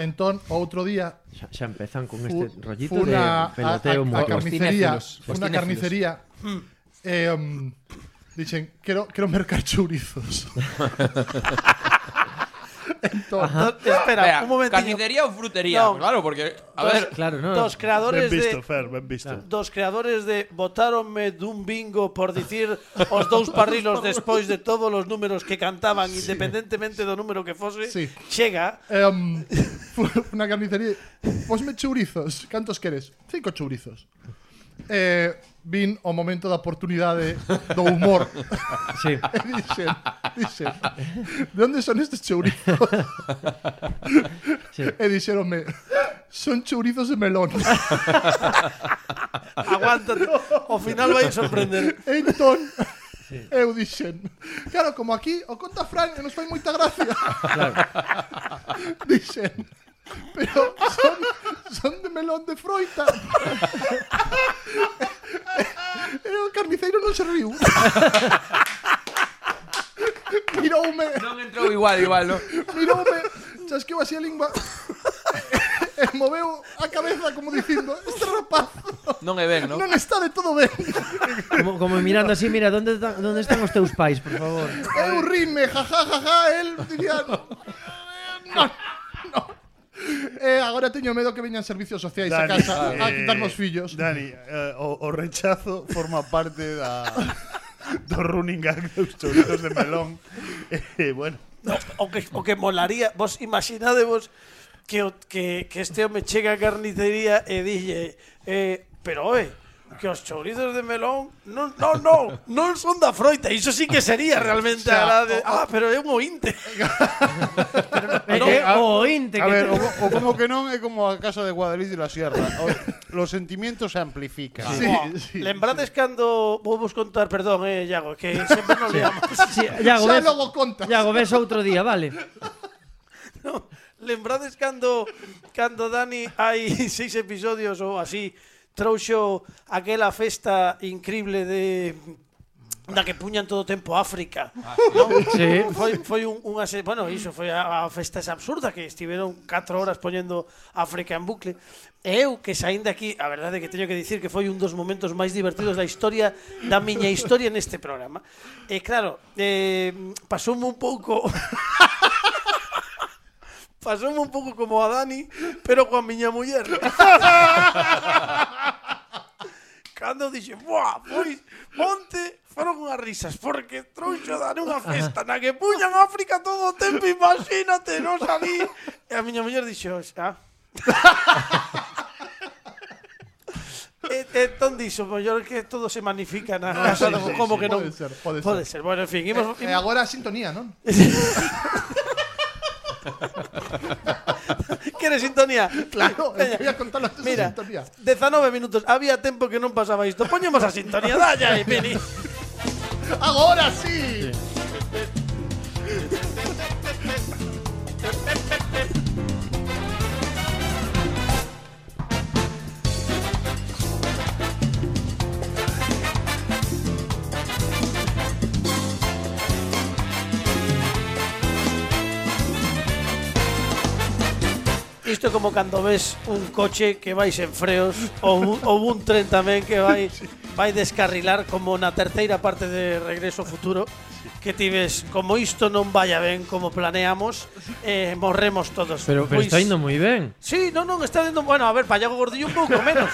Speaker 7: entón, outro día
Speaker 4: Xa, xa empezan con
Speaker 7: fu-
Speaker 4: este rollito
Speaker 7: fun
Speaker 4: de
Speaker 7: a, a,
Speaker 4: peloteo
Speaker 7: a- a
Speaker 4: mutuo.
Speaker 7: carnicería,
Speaker 3: cinéfilos, os
Speaker 7: fun a
Speaker 3: cinéfilos.
Speaker 7: carnicería e, um, dicen, quero, quero mercar chourizos. entón,
Speaker 2: No, espera,
Speaker 3: Vea,
Speaker 2: un momentiño.
Speaker 3: Carnicería ou frutería,
Speaker 2: No.
Speaker 3: Pues claro, porque a
Speaker 2: Dos-
Speaker 3: ver,
Speaker 4: Claro, no.
Speaker 2: Dos creadores
Speaker 6: Ben visto,
Speaker 2: de
Speaker 6: Fer, ben visto.
Speaker 2: dos creadores de votáronme dun bingo por dicir os dous parrilos despois de todos os números que cantaban independentemente do número que fose
Speaker 7: Sí.
Speaker 2: chega
Speaker 7: Em, fue una carnicería. Posme chourizos. Cantos queres? Cinco chourizos. Eh, vin o momento da oportunidade do humor.
Speaker 4: Sí.
Speaker 7: E dixen, dixen, Eh, de onde son estes chourizos?
Speaker 4: Sí.
Speaker 7: E dixeronme, son chourizos de melón.
Speaker 2: aguántate ao final vai sorprender
Speaker 7: E entón, eu dixen, claro, como aquí o conta Fran e nos fai moita gracia.
Speaker 4: Claro.
Speaker 7: Dixen, pero son, son de melón de froita. E o carniceiro non se riu. Miroume,
Speaker 3: non entrou igual, igual, non?
Speaker 7: miroume, chasqueou así a lingua. E moveu a cabeza como dicindo, este rapaz
Speaker 3: Non é ben, non?
Speaker 7: non está de todo ben.
Speaker 4: Como, como mirando así, mira, ¿dónde, ta- ¿dónde están os teus pais, por favor?
Speaker 7: Eu rime, jajajaja, ja, ja, el dicía... No, no. Eh, agora teño medo que veñan servicios sociais a casa a
Speaker 6: eh,
Speaker 7: quitarnos fillos.
Speaker 6: Dani, eh, o, o rechazo forma parte da do running gag dos chorizos de melón. Eh, bueno,
Speaker 2: o que, o que molaría, vos imaginadevos que, o- que, que este home chega á carnicería e dille eh, pero oe, que os chourizos de melón non, non, non, non son da froita, iso sí que sería realmente a la de, ah, pero é un ointe
Speaker 4: É que o ointe
Speaker 6: Ah, a
Speaker 4: que
Speaker 6: ver,
Speaker 4: te-
Speaker 6: o, o como que non é como a casa de Guadalix de la Sierra. O, los sentimientos se amplifican.
Speaker 7: Sí,
Speaker 2: Buah,
Speaker 7: sí.
Speaker 2: Lembrades cando vou vos contar, perdón, eh, Iago, que sempre non leamos.
Speaker 4: Sí, Iago,
Speaker 7: Xa
Speaker 4: ves,
Speaker 7: logo contas.
Speaker 4: Iago, ves outro día, vale.
Speaker 2: No, lembrades cando cando Dani hai seis episodios ou así trouxo aquela festa increíble de da que puñan todo o tempo África. non?
Speaker 4: Sí.
Speaker 2: Foi, foi un, unha se... Bueno, iso foi a, a festa esa absurda que estiveron 4 horas poñendo África en bucle. E eu que saín daqui, a verdade é que teño que dicir que foi un dos momentos máis divertidos da historia da miña historia neste programa. E claro, eh, pasoume un pouco Pasoume un pouco como a Dani, pero coa miña muller. Cando dixe, buah, pois, monte, foron unhas risas, porque trouxo a Dani unha festa na que puñan África todo o tempo, imagínate, non salí. E a miña muller dixe, "Oxe, ah. E entón dixo, mellor que todo se magnifica na casa,
Speaker 7: Ah, sí, sí,
Speaker 2: como
Speaker 7: sí,
Speaker 2: que non.
Speaker 7: pode ser, pode ser.
Speaker 2: ser. Bueno, en fin, imos,
Speaker 7: E agora a sintonía, non?
Speaker 2: Queres sintonía?
Speaker 7: Claro,
Speaker 2: Veña,
Speaker 7: eu quería contarlo antes da
Speaker 2: Mira,
Speaker 7: sintonía.
Speaker 2: 19 minutos. Había tempo que non pasaba isto. Poñemos a sintonía, dalla aí, Pini.
Speaker 7: Agora sí.
Speaker 2: Isto é como cando ves un coche que vai sen freos ou un, ou un tren tamén que vai vai descarrilar como na terceira parte de Regreso ao Futuro que ti ves como isto non vaya ben como planeamos eh, morremos todos.
Speaker 4: Pero, pero
Speaker 2: Pois-
Speaker 4: está indo moi ben.
Speaker 2: Sí, non, non, está dentro. Bueno, a ver, Payago Gordillo un pouco menos.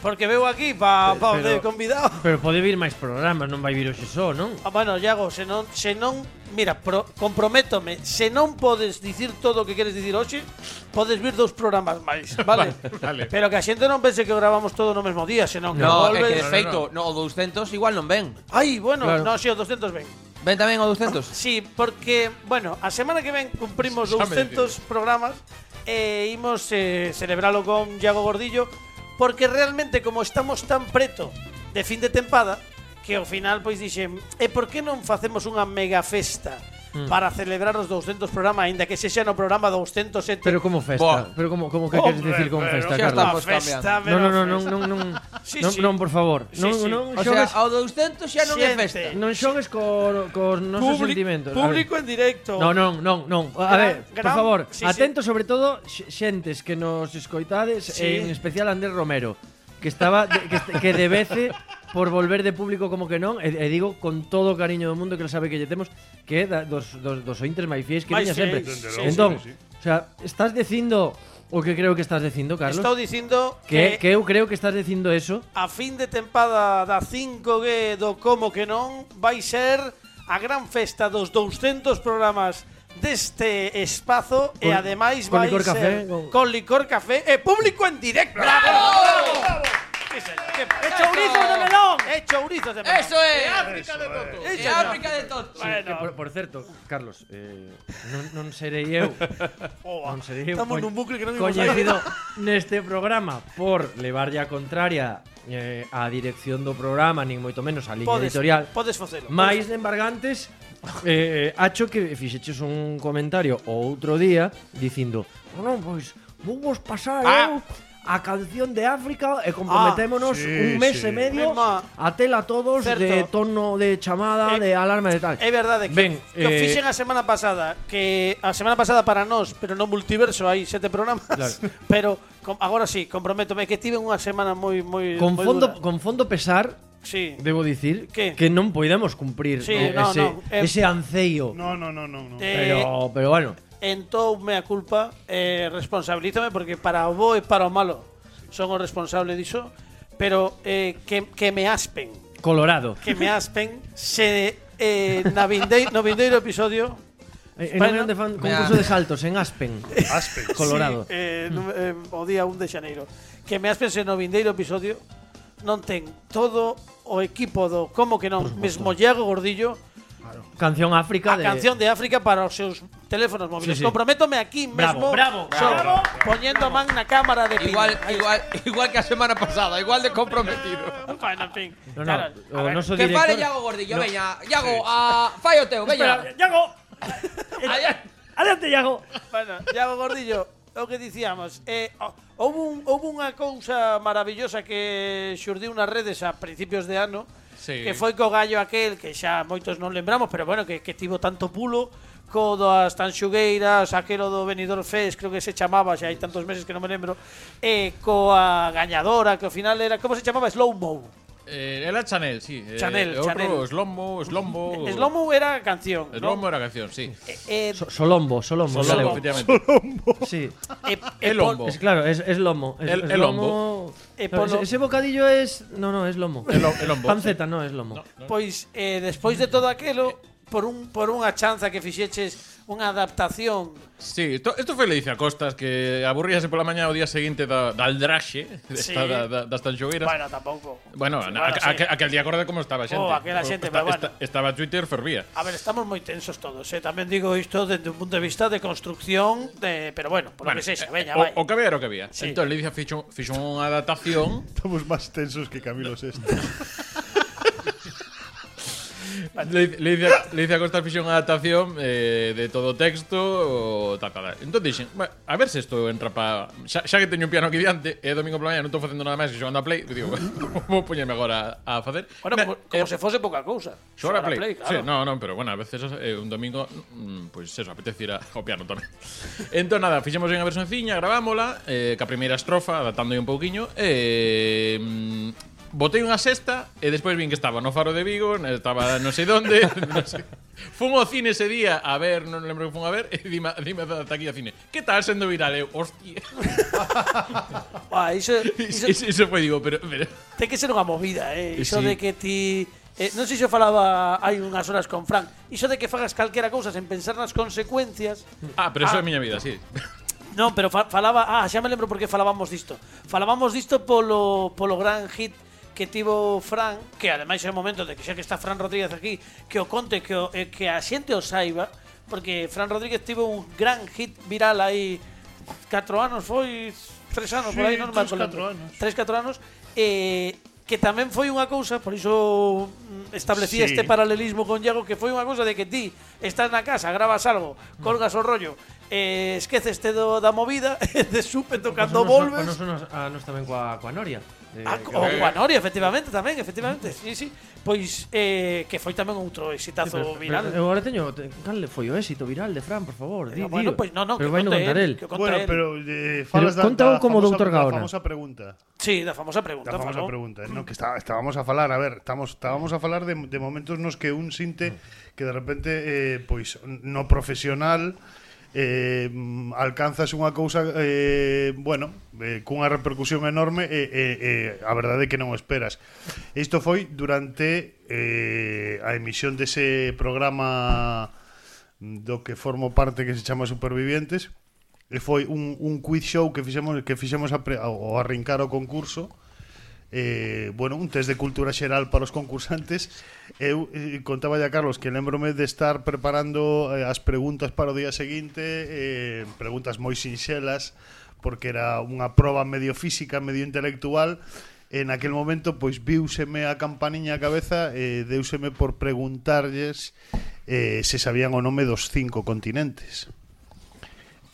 Speaker 2: Porque veo aquí pa, pa
Speaker 4: Pero-
Speaker 2: de convidado.
Speaker 4: Pero pode vir máis programas, non vai vir hoxe só, non?
Speaker 2: Ah, bueno, Iago, se non, se non, mira, pro, comprométome, se non podes dicir todo o que queres dicir hoxe, podes vir dous programas máis, vale?
Speaker 9: Vale, vale.
Speaker 2: Pero que a xente non pense que gravamos todo no mesmo día, senón que
Speaker 3: No, é
Speaker 2: volves.
Speaker 3: que de feito, no, o 200 igual non ven.
Speaker 2: Ai, bueno,
Speaker 4: Claro.
Speaker 2: no, si, o 200 ven.
Speaker 3: Ven tamén o 200.
Speaker 2: Sí, porque, bueno, a semana que ven cumprimos
Speaker 9: Xa me
Speaker 2: 200 programas e imos eh, celebralo con Iago Gordillo porque realmente como estamos tan preto de fin de tempada que ao final pois dixen e por que non facemos unha mega festa
Speaker 3: Hmm.
Speaker 2: para celebrar os 200 programas aínda que sexa no programa e 207
Speaker 4: Pero como festa,
Speaker 3: Boa.
Speaker 4: pero como como que queres decir con festa,
Speaker 3: xa
Speaker 4: Carlos?
Speaker 3: estamos cambiando.
Speaker 4: No, no, no, non, non, non.
Speaker 2: Sí,
Speaker 4: non,
Speaker 2: sí.
Speaker 4: non, por favor.
Speaker 2: Sí,
Speaker 4: non,
Speaker 2: sí.
Speaker 4: non
Speaker 3: O sea,
Speaker 4: xogues,
Speaker 3: ao 200 xa non é
Speaker 2: Xente.
Speaker 3: festa.
Speaker 4: non xogues co cos nosos
Speaker 2: Publi-
Speaker 4: sentimentos. A ver.
Speaker 2: Público en directo.
Speaker 4: No, non, non, non. A
Speaker 2: Gran-
Speaker 4: ver, por
Speaker 2: gran-
Speaker 4: favor,
Speaker 2: sí, sí.
Speaker 4: atento sobre todo x- xentes que nos escoitades,
Speaker 2: Sí.
Speaker 4: e en especial Andrés Romero, que estaba de- que, est- que debece por volver de público como que non, e, e digo con todo o cariño do mundo que el sabe que lle temos, que é da, dos, dos, dos ointes máis fiéis que
Speaker 2: Máis
Speaker 4: tiña sempre.
Speaker 2: fiéis, sí,
Speaker 4: entón,
Speaker 6: sí, sí.
Speaker 4: o sea, estás dicindo o que creo que estás dicindo, Carlos?
Speaker 2: Estou dicindo
Speaker 4: que, que eu creo que estás dicindo eso.
Speaker 2: a fin de tempada da 5G do Como que non vai ser a gran festa dos 200 programas deste espazo e
Speaker 4: Con-
Speaker 2: ademais
Speaker 4: con
Speaker 2: vai
Speaker 4: licor
Speaker 2: ser
Speaker 4: café, con-
Speaker 2: con licor café e público en directo. Bravo! Sí, señor. Que- E chourizos de melón, e chourizos de melón.
Speaker 3: Eso é.
Speaker 2: E
Speaker 3: É
Speaker 2: chourizos.
Speaker 3: África de todos.
Speaker 2: Bueno,
Speaker 4: Eh, por, por certo, Carlos, eh, non, non serei eu
Speaker 2: boa.
Speaker 4: non serei eu,
Speaker 2: estamos
Speaker 4: coño.
Speaker 2: nun bucle que non imos
Speaker 4: coñecido neste programa por levarlle a contraria eh, a dirección do programa, nin moito menos a
Speaker 2: sair.
Speaker 4: liña
Speaker 2: Podes,
Speaker 4: editorial.
Speaker 2: podes facelo.
Speaker 4: Mais de embargantes, eh, acho que fixeches un comentario o outro día dicindo "Oh, non, pois, vou vos pasar eu a canción de África e comprometémonos
Speaker 6: Ah, sí,
Speaker 4: un mes e
Speaker 6: sí.
Speaker 4: medio
Speaker 2: Emma,
Speaker 4: a tela todos
Speaker 2: certo.
Speaker 4: de tono de chamada,
Speaker 2: Eh,
Speaker 4: de alarma e de tal.
Speaker 2: É verdade que,
Speaker 4: Ben,
Speaker 2: que o
Speaker 4: eh,
Speaker 2: fixen a semana pasada Que a semana pasada para nós Pero no multiverso hai sete programas
Speaker 4: Claro.
Speaker 2: Pero com, agora sí, comprométome Que tiven unha semana moi moi
Speaker 4: con
Speaker 2: moi
Speaker 4: fondo,
Speaker 2: dura.
Speaker 4: con fondo pesar,
Speaker 2: Sí,
Speaker 4: Debo dicir
Speaker 2: Que?
Speaker 4: que non poidemos cumprir
Speaker 2: Sí,
Speaker 4: eh,
Speaker 2: no,
Speaker 4: ese,
Speaker 2: no, eh,
Speaker 4: ese anceio.
Speaker 6: No, no, no, no. no.
Speaker 2: eh,
Speaker 4: pero, pero bueno,
Speaker 2: Entón, mea culpa eh, Responsabilízame porque para o bo e para o malo Son o responsable diso Pero eh, que, que me aspen
Speaker 4: Colorado.
Speaker 2: Que me aspen Se eh, na vindei, no vindeiro episodio
Speaker 4: Eh, En
Speaker 2: Bueno,
Speaker 4: un grande fan-
Speaker 3: vea.
Speaker 4: concurso de saltos en Aspen,
Speaker 6: Aspen.
Speaker 4: Colorado.
Speaker 2: Sí, eh, no, eh, o día 1 de xaneiro. Que me aspense no vindeiro episodio non ten todo o equipo do como que non, mesmo Iago Gordillo,
Speaker 4: Canción África
Speaker 2: a
Speaker 4: de
Speaker 2: canción de África para os seus teléfonos móviles.
Speaker 4: Sí, sí.
Speaker 2: Comprométome aquí mesmo.
Speaker 4: Bravo, bravo,
Speaker 2: só
Speaker 4: bravo,
Speaker 2: Poñendo man na cámara de pin.
Speaker 3: Igual, igual, igual que a semana pasada, igual de comprometido.
Speaker 2: Bueno, en fin.
Speaker 4: No, no,
Speaker 2: Claro, a
Speaker 4: o
Speaker 2: ver.
Speaker 4: noso
Speaker 3: Que
Speaker 4: director.
Speaker 3: fale Iago Gordillo, veña. Iago, a fai o teu, veña.
Speaker 4: Iago.
Speaker 3: Allá-
Speaker 4: Adelante, Iago.
Speaker 2: Bueno, Iago Gordillo, o que dicíamos, eh, o- houve, un, houve unha cousa maravillosa que xurdiu nas redes a principios de ano,
Speaker 9: Sí.
Speaker 2: que foi co gallo aquel, que xa moitos non lembramos, pero bueno, que, que tivo tanto pulo, co das tanxugueiras, aquelo do Benidorm Fest, creo que se chamaba, xa hai tantos meses que non me lembro, e coa gañadora, que ao final era, como se chamaba? Slow Mo.
Speaker 9: Eh, era Chanel, sí. Eh,
Speaker 2: Chanel,
Speaker 9: otro,
Speaker 2: Chanel.
Speaker 9: Slombo, Slombo.
Speaker 2: Slow Mo era a canción,
Speaker 9: Slombo
Speaker 2: non?
Speaker 9: era canción, sí.
Speaker 2: E, e,
Speaker 4: So- Solombo, Solombo.
Speaker 9: Slombo,
Speaker 4: galego.
Speaker 9: efectivamente.
Speaker 4: Sí.
Speaker 2: e, e
Speaker 9: El
Speaker 2: pon-
Speaker 9: Hombo.
Speaker 4: Es claro, es, es lomo. Es,
Speaker 9: El-
Speaker 4: es
Speaker 9: el
Speaker 4: lomo.
Speaker 2: Eh,
Speaker 4: No,
Speaker 2: polo-
Speaker 4: ese, ese bocadillo es. No, no, es lomo.
Speaker 9: El lo- el lombo,
Speaker 4: Panceta, no, es lomo.
Speaker 2: Pois eh, despois de todo aquelo por un por unha chanza que fixeches unha adaptación
Speaker 9: Sí, esto, esto fue Leticia Costas, que aburríase pola mañá o día seguinte da, da aldraxe,
Speaker 2: Sí.
Speaker 9: desta, da, da, das tanxogueiras.
Speaker 2: Bueno, tampouco.
Speaker 9: Bueno, na-
Speaker 2: bueno,
Speaker 9: a-
Speaker 2: sí.
Speaker 9: a- aquel, aquel día acorde como estaba a xente.
Speaker 2: Oh, aquela xente, pero bueno.
Speaker 9: estaba Twitter, fervía.
Speaker 2: A ver, estamos moi tensos todos, eh? tamén digo isto desde un punto de vista de construcción, de, pero bueno, por lo que sexa,
Speaker 9: eh,
Speaker 2: veña,
Speaker 9: o-
Speaker 2: vai.
Speaker 9: o, que había era o que había.
Speaker 2: Sí.
Speaker 9: Entón, Leticia fixo, fixo unha adaptación
Speaker 6: Estamos más tensos que Camilo Sesto.
Speaker 9: le, le dice, a- le dice a Costa Fixón adaptación eh, de todo texto o tal, tal, tal. Entón dixen, "Ba, a ver se isto entra para... Xa, xa que teño un piano aquí diante, e domingo pola mañá non estou facendo nada máis que xogando a Play, que digo, vou poñerme agora a, a facer.
Speaker 2: Bueno,
Speaker 9: Na-
Speaker 2: como, como
Speaker 9: eh,
Speaker 2: se fose poca cousa.
Speaker 9: Xogar a Play.
Speaker 2: claro.
Speaker 9: Sí, no, no, pero bueno, a veces eh, un domingo, mm, pois pues eso, apetece ir a, ao piano tamén. entón, nada, fixemos unha versionciña, gravámola, eh, ca primeira estrofa, adaptando un pouquiño, e... Eh, mm, Botei unha sexta e despois vin que estaba no Faro de Vigo, estaba non sei onde, non sei. Fun ao cine ese día a ver, non lembro que fun a ver, e dime, dime da taquilla cine. Que tal sendo viral? Eu, hostia.
Speaker 2: Ah, iso, iso,
Speaker 9: Iso, iso foi, digo, pero, pero
Speaker 2: ten que ser unha movida, eh. Iso
Speaker 9: Sí.
Speaker 2: de que ti... Eh, non sei se eu falaba hai unhas horas con Frank. Iso de que fagas calquera cousa sen pensar nas consecuencias.
Speaker 9: Ah, pero eso é a miña vida, sí.
Speaker 2: Non, pero fa- falaba, ah, xa me lembro por que falábamos disto. Falábamos disto polo polo gran hit que tivo Fran, que ademais é o momento de que xa que está Fran Rodríguez aquí, que o conte, que o, eh, que a xente o saiba, porque Fran Rodríguez tivo un gran hit viral aí 4 anos foi 3 anos por aí,
Speaker 8: Sí,
Speaker 2: non
Speaker 8: tres,
Speaker 2: me acordo.
Speaker 8: catro anos.
Speaker 2: 3 4 anos eh, que tamén foi unha cousa, por iso mm, establecía
Speaker 6: Sí.
Speaker 2: este paralelismo con Iago, que foi unha cousa de que ti estás na casa, grabas algo,
Speaker 4: Mm.
Speaker 2: colgas o rollo, eh, esqueces te do, da movida, e de
Speaker 4: Pues
Speaker 2: súpeto cando volves...
Speaker 4: A nos tamén coa, coa Noria. Eh,
Speaker 2: Ah,
Speaker 4: que-
Speaker 2: o Guanori, efectivamente, tamén, efectivamente. Sí, sí. Pois eh, que foi tamén outro
Speaker 4: Sí, pero-
Speaker 2: exitazo
Speaker 4: pero-
Speaker 2: viral.
Speaker 4: Eu agora teño, te- cal foi o éxito viral de Fran, por favor, di,
Speaker 2: Pero bueno,
Speaker 4: dío.
Speaker 2: pois non, non,
Speaker 4: Pero
Speaker 2: que
Speaker 4: vai no
Speaker 2: conte
Speaker 4: contar
Speaker 2: el,
Speaker 4: el.
Speaker 2: que o conte
Speaker 6: Bueno,
Speaker 2: el.
Speaker 6: pero eh, falas da,
Speaker 4: contao
Speaker 6: da
Speaker 4: como
Speaker 6: famosa,
Speaker 4: Dr. Gaona.
Speaker 6: da famosa pregunta.
Speaker 2: Sí, da famosa pregunta,
Speaker 6: Da famosa
Speaker 2: falou.
Speaker 6: pregunta, eh, no, que está, estábamos a falar, a ver, estamos estábamos a falar de, de momentos nos que un sinte que de repente eh, pois no profesional eh, mm, alcanzas unha cousa eh, bueno, eh, cunha repercusión enorme e eh, eh, eh, a verdade é que non o esperas. Isto foi durante eh, a emisión dese programa do que formo parte que se chama Supervivientes e foi un, un quiz show que fixemos que fixemos a pre, ao ao arrincar o concurso eh, bueno, un test de cultura xeral para os concursantes eu eh, contaba a Carlos que lembrome de estar preparando eh, as preguntas para o día seguinte eh, preguntas moi sinxelas porque era unha proba medio física, medio intelectual en aquel momento pois viuseme a campaniña a cabeza e deuseme por preguntarlles eh, se sabían o nome dos cinco continentes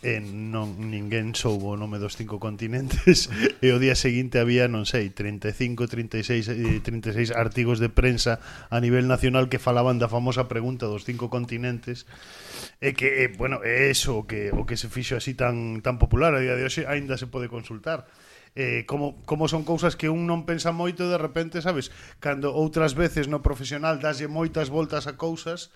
Speaker 6: e non ninguén soubo o nome dos cinco continentes e o día seguinte había, non sei, 35, 36, eh, 36 artigos de prensa a nivel nacional que falaban da famosa pregunta dos cinco continentes e que, eh, bueno, é eso o que o que se fixo así tan tan popular a día de hoxe aínda se pode consultar. Eh, como, como son cousas que un non pensa moito de repente, sabes, cando outras veces no profesional daslle moitas voltas a cousas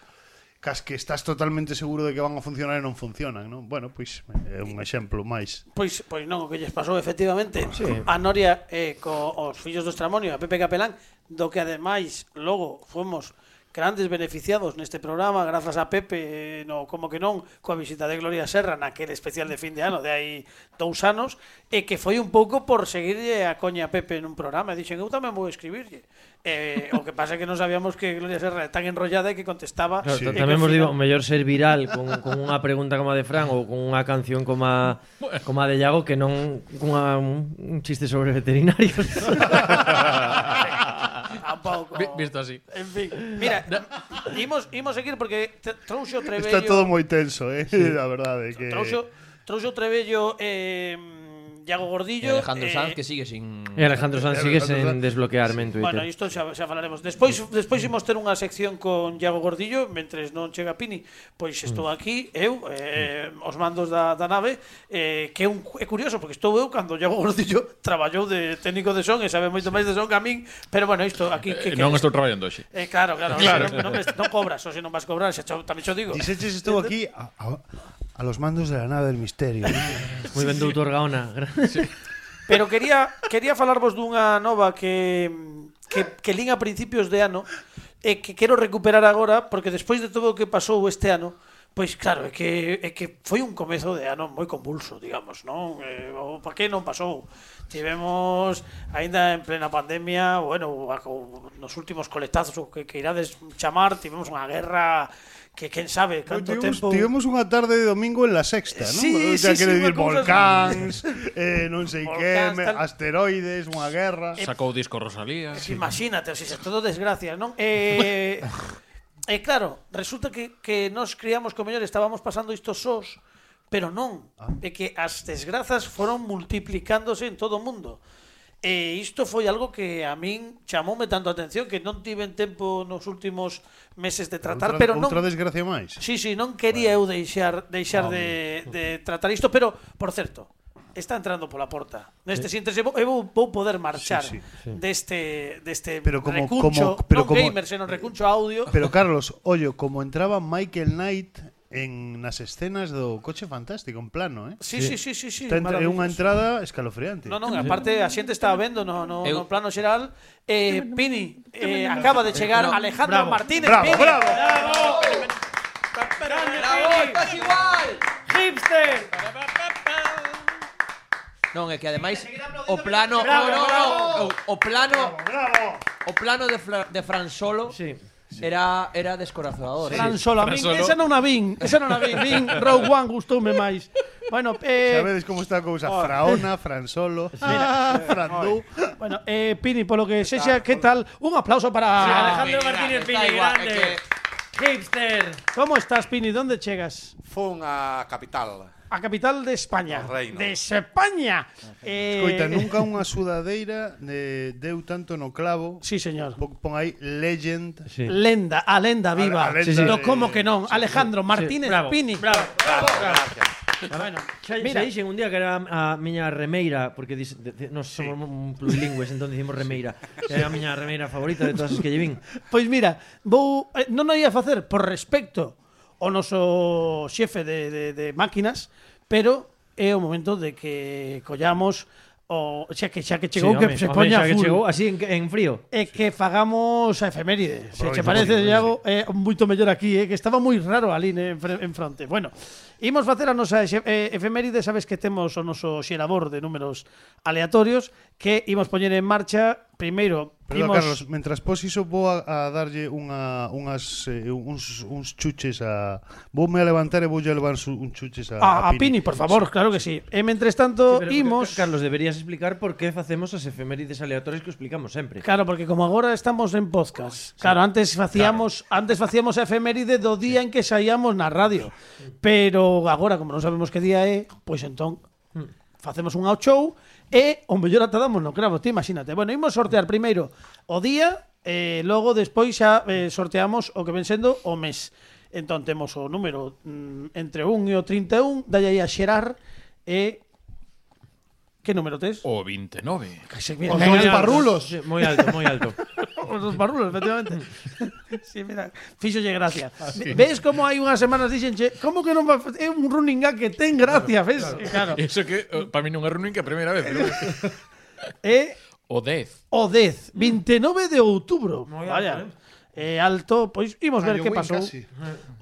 Speaker 6: cas que estás totalmente seguro de que van a funcionar e non funcionan, non? Bueno, pois é un exemplo máis.
Speaker 2: Pois, pois non, o que lles pasou efectivamente a Noria eh, co, os fillos do Estramonio, a Pepe Capelán, do que ademais logo fomos grandes beneficiados neste programa grazas a Pepe, eh, no, como que non coa visita de Gloria Serra naquele especial de fin de ano de hai dous anos e que foi un pouco por seguirlle a coña a Pepe nun programa e dixen, eu tamén vou escribirlle eh, o que pasa é que non sabíamos que Gloria Serra é tan enrollada e que contestaba
Speaker 4: Claro,
Speaker 2: e
Speaker 4: ta-
Speaker 2: que
Speaker 4: tamén
Speaker 2: ao
Speaker 4: vos
Speaker 2: final-
Speaker 4: digo, mellor ser viral con, con unha pregunta como a de Fran ou con unha canción como a, como a de Iago que non cunha, un, un chiste sobre veterinarios.
Speaker 2: Tampouco.
Speaker 9: Vi- Visto así.
Speaker 2: En fin, mira, imos, imos seguir porque te- trouxo Trebello...
Speaker 6: Está todo moi tenso, eh, a verdade que
Speaker 2: Trouxo, trouxo Trebello eh, Iago Gordillo...
Speaker 3: Alejandro
Speaker 2: eh,
Speaker 3: Sanz que sigue sin.
Speaker 4: e Alejandro Sanz sigue
Speaker 6: Alejandro
Speaker 4: sen
Speaker 6: Sanz.
Speaker 4: desbloquearme en Twitter.
Speaker 2: Bueno, isto xa, xa falaremos. Despois despois imos ter unha sección con Iago Gordillo, mentres non chega Pini, pois estou
Speaker 4: Mm.
Speaker 2: aquí eu eh, os mandos da, da nave, eh, que é, un, é curioso porque estou eu cando Iago Gordillo traballou de técnico de son e sabe moito máis de son que a min, pero bueno, isto aquí
Speaker 9: Eh,
Speaker 2: que, Ah, que
Speaker 9: non estou traballando hoxe.
Speaker 2: Eh, claro, claro.
Speaker 9: Claro.
Speaker 2: o sea, Non, non, ves- non cobras, o si non vas cobrar, xa cho- tamén xo digo.
Speaker 6: Diseches estuvo aquí a, a, a los mandos de la nave del misterio.
Speaker 4: Moi ben, doutor Gaona.
Speaker 2: Pero quería quería falarvos dunha nova que que, que lín a principios de ano e que quero recuperar agora porque despois de todo o que pasou este ano Pois claro, é que, é que foi un comezo de ano moi convulso, digamos, non? Eh, o pa que non pasou? Tivemos, aínda en plena pandemia, bueno, a- o- nos últimos coletazos o que, que irades chamar, tivemos unha guerra que quen sabe canto
Speaker 6: Tivemos,
Speaker 2: tempo...
Speaker 6: tivemos unha tarde de domingo en la sexta, non?
Speaker 2: Sí,
Speaker 6: o sea,
Speaker 2: sí, sí,
Speaker 6: quero
Speaker 2: unha
Speaker 6: dicir,
Speaker 2: cousa-
Speaker 6: volcáns, eh, non sei que,
Speaker 2: Volcáns,
Speaker 6: me,
Speaker 2: tal.
Speaker 6: asteroides,
Speaker 10: Eh,
Speaker 2: Eh,
Speaker 6: unha guerra.
Speaker 9: Sacou o disco Rosalía.
Speaker 2: Imagínate, o sea, todo desgracia, non? Eh,
Speaker 10: E claro, resulta que, que nos criamos co mellor estábamos pasando isto sós, pero non,
Speaker 6: Ah.
Speaker 10: é que as desgrazas foron multiplicándose en todo o mundo. E isto foi algo que a min chamoume tanto a atención que non tiven tempo nos últimos meses de tratar,
Speaker 6: outra,
Speaker 10: pero non
Speaker 6: outra desgracia máis.
Speaker 10: Sí, sí, non quería eu deixar
Speaker 6: Ah,
Speaker 10: deixar de, de tratar isto, pero, por certo, está entrando pola porta. Neste sí. sintres, eu vou- eu vou poder marchar sí,
Speaker 6: Sí,
Speaker 10: sí.
Speaker 6: sí.
Speaker 10: deste, deste
Speaker 6: Pero como-
Speaker 10: recuncho,
Speaker 6: como- pero
Speaker 10: non
Speaker 6: como-
Speaker 10: gamer, senón recuncho audio.
Speaker 6: Pero Carlos, ollo, como entraba Michael Knight en nas escenas do coche fantástico en plano, eh?
Speaker 10: Sí, sí, sí, sí, sí.
Speaker 6: Está entre, é unha
Speaker 10: maravilloso.
Speaker 6: entrada escalofriante.
Speaker 10: Non, non, aparte a xente estaba vendo no, no, no
Speaker 3: Eu-
Speaker 10: plano xeral eh, Pini eh, acaba de chegar Alejandro
Speaker 4: Bravo.
Speaker 10: Martínez
Speaker 6: Bravo,
Speaker 10: Pini.
Speaker 6: bravo.
Speaker 3: ¡Bravo! ¡Estás igual!
Speaker 10: Hipster.
Speaker 3: Non, é que ademais o plano,
Speaker 10: Bravo,
Speaker 3: no, no,
Speaker 10: bravo.
Speaker 3: O, o plano,
Speaker 6: Bravo.
Speaker 3: o plano de, Fra- de Fran Solo
Speaker 4: Sí.
Speaker 3: era era descorazonador. eh.
Speaker 2: Fran Solo, a
Speaker 9: Fran
Speaker 2: min,
Speaker 9: Solo.
Speaker 2: esa non a vin, esa non a vin, vin Rogue One gustoume máis. Bueno, eh,
Speaker 6: Sabedes como está a cousa? Fraona, Fran Solo, ah, Fran Du.
Speaker 2: bueno, eh, Pini, polo que sexa, que tal? Un aplauso para...
Speaker 4: Alejandro
Speaker 9: mira,
Speaker 4: Martínez
Speaker 3: está
Speaker 4: Pini,
Speaker 3: igual,
Speaker 4: grande.
Speaker 3: é
Speaker 4: Hipster.
Speaker 2: Como estás, Pini? Donde chegas?
Speaker 8: Fun a capital.
Speaker 2: A capital de España.
Speaker 8: Ao reino.
Speaker 2: De España. Eh,
Speaker 6: Coita, nunca unha sudadeira de, deu tanto no clavo.
Speaker 2: Sí, señor.
Speaker 6: Po- Pon aí Legend.
Speaker 4: Sí.
Speaker 2: Lenda, a lenda viva.
Speaker 6: A- a lenda
Speaker 2: No,
Speaker 6: de-
Speaker 2: como que non. Alejandro Martínez
Speaker 4: bravo,
Speaker 2: Pini.
Speaker 4: Bueno, xa,
Speaker 2: mira.
Speaker 4: xa dixen un día que era a miña remeira, porque dis, de, de, nos somos un plurilingües, entón dicimos remeira. que Era a miña remeira favorita de todas as que lle vin.
Speaker 2: Pois Pues mira, vou eh, non o ia facer por respecto ao noso xefe de, de, de máquinas, pero é o momento de que collamos o xa que xa que chegou
Speaker 4: Sí,
Speaker 2: que
Speaker 4: home,
Speaker 2: se
Speaker 4: home,
Speaker 2: poña
Speaker 4: xa que
Speaker 2: full.
Speaker 4: chegou así en, en frío.
Speaker 2: É que fagamos a efeméride. Se che parece,
Speaker 6: Aproveita, aproveita,
Speaker 2: Iago, é moito mellor aquí, eh, que estaba moi raro ali né, en, fre- en fronte. Bueno, imos facer a nosa exe- eh, efeméride, sabes que temos o noso xerador de números aleatorios que imos poñer en marcha primeiro
Speaker 6: Perdón,
Speaker 2: imos-
Speaker 6: Carlos, mentras pos iso vou a, a darlle unha, unhas, eh, uns, uns chuches a... Voume a levantar e voulle a levar su- un chuches a,
Speaker 2: A, a Pini, por favor, claro que sí. E mentres tanto,
Speaker 4: Pero,
Speaker 2: imos...
Speaker 4: Carlos, deberías explicar por que facemos as efemérides aleatorias que o explicamos sempre.
Speaker 2: Claro, porque como agora estamos en podcast. Claro, antes facíamos antes facíamos a efeméride do día en que saíamos na radio. Pero agora, como non sabemos que día é, pois entón
Speaker 4: Hmm.
Speaker 2: facemos un out show e o mellor atadamos no cravo, ti imagínate. Bueno, imos sortear primeiro o día e logo despois xa eh, sorteamos o que ven sendo o mes. Entón temos o número mm, entre 1 e o 31, dalle aí a xerar e que número tes?
Speaker 9: O 29.
Speaker 2: Casi,
Speaker 7: Os dos parrulos.
Speaker 4: Sí, moi alto, moi alto.
Speaker 2: Os dos parrulos, efectivamente. sí, mira, fíxolle gracia. Ves como hai unhas semanas dixenche, como que non va fa- é un running gag que ten gracia, ves? Claro. Eh.
Speaker 9: Eso que para mí non é running que a primeira vez. pero-
Speaker 2: E
Speaker 9: o 10.
Speaker 2: o 10, 29 de outubro. Vaya. Eh, alto, pois imos ver que
Speaker 7: Halloween
Speaker 2: pasou.
Speaker 7: casi.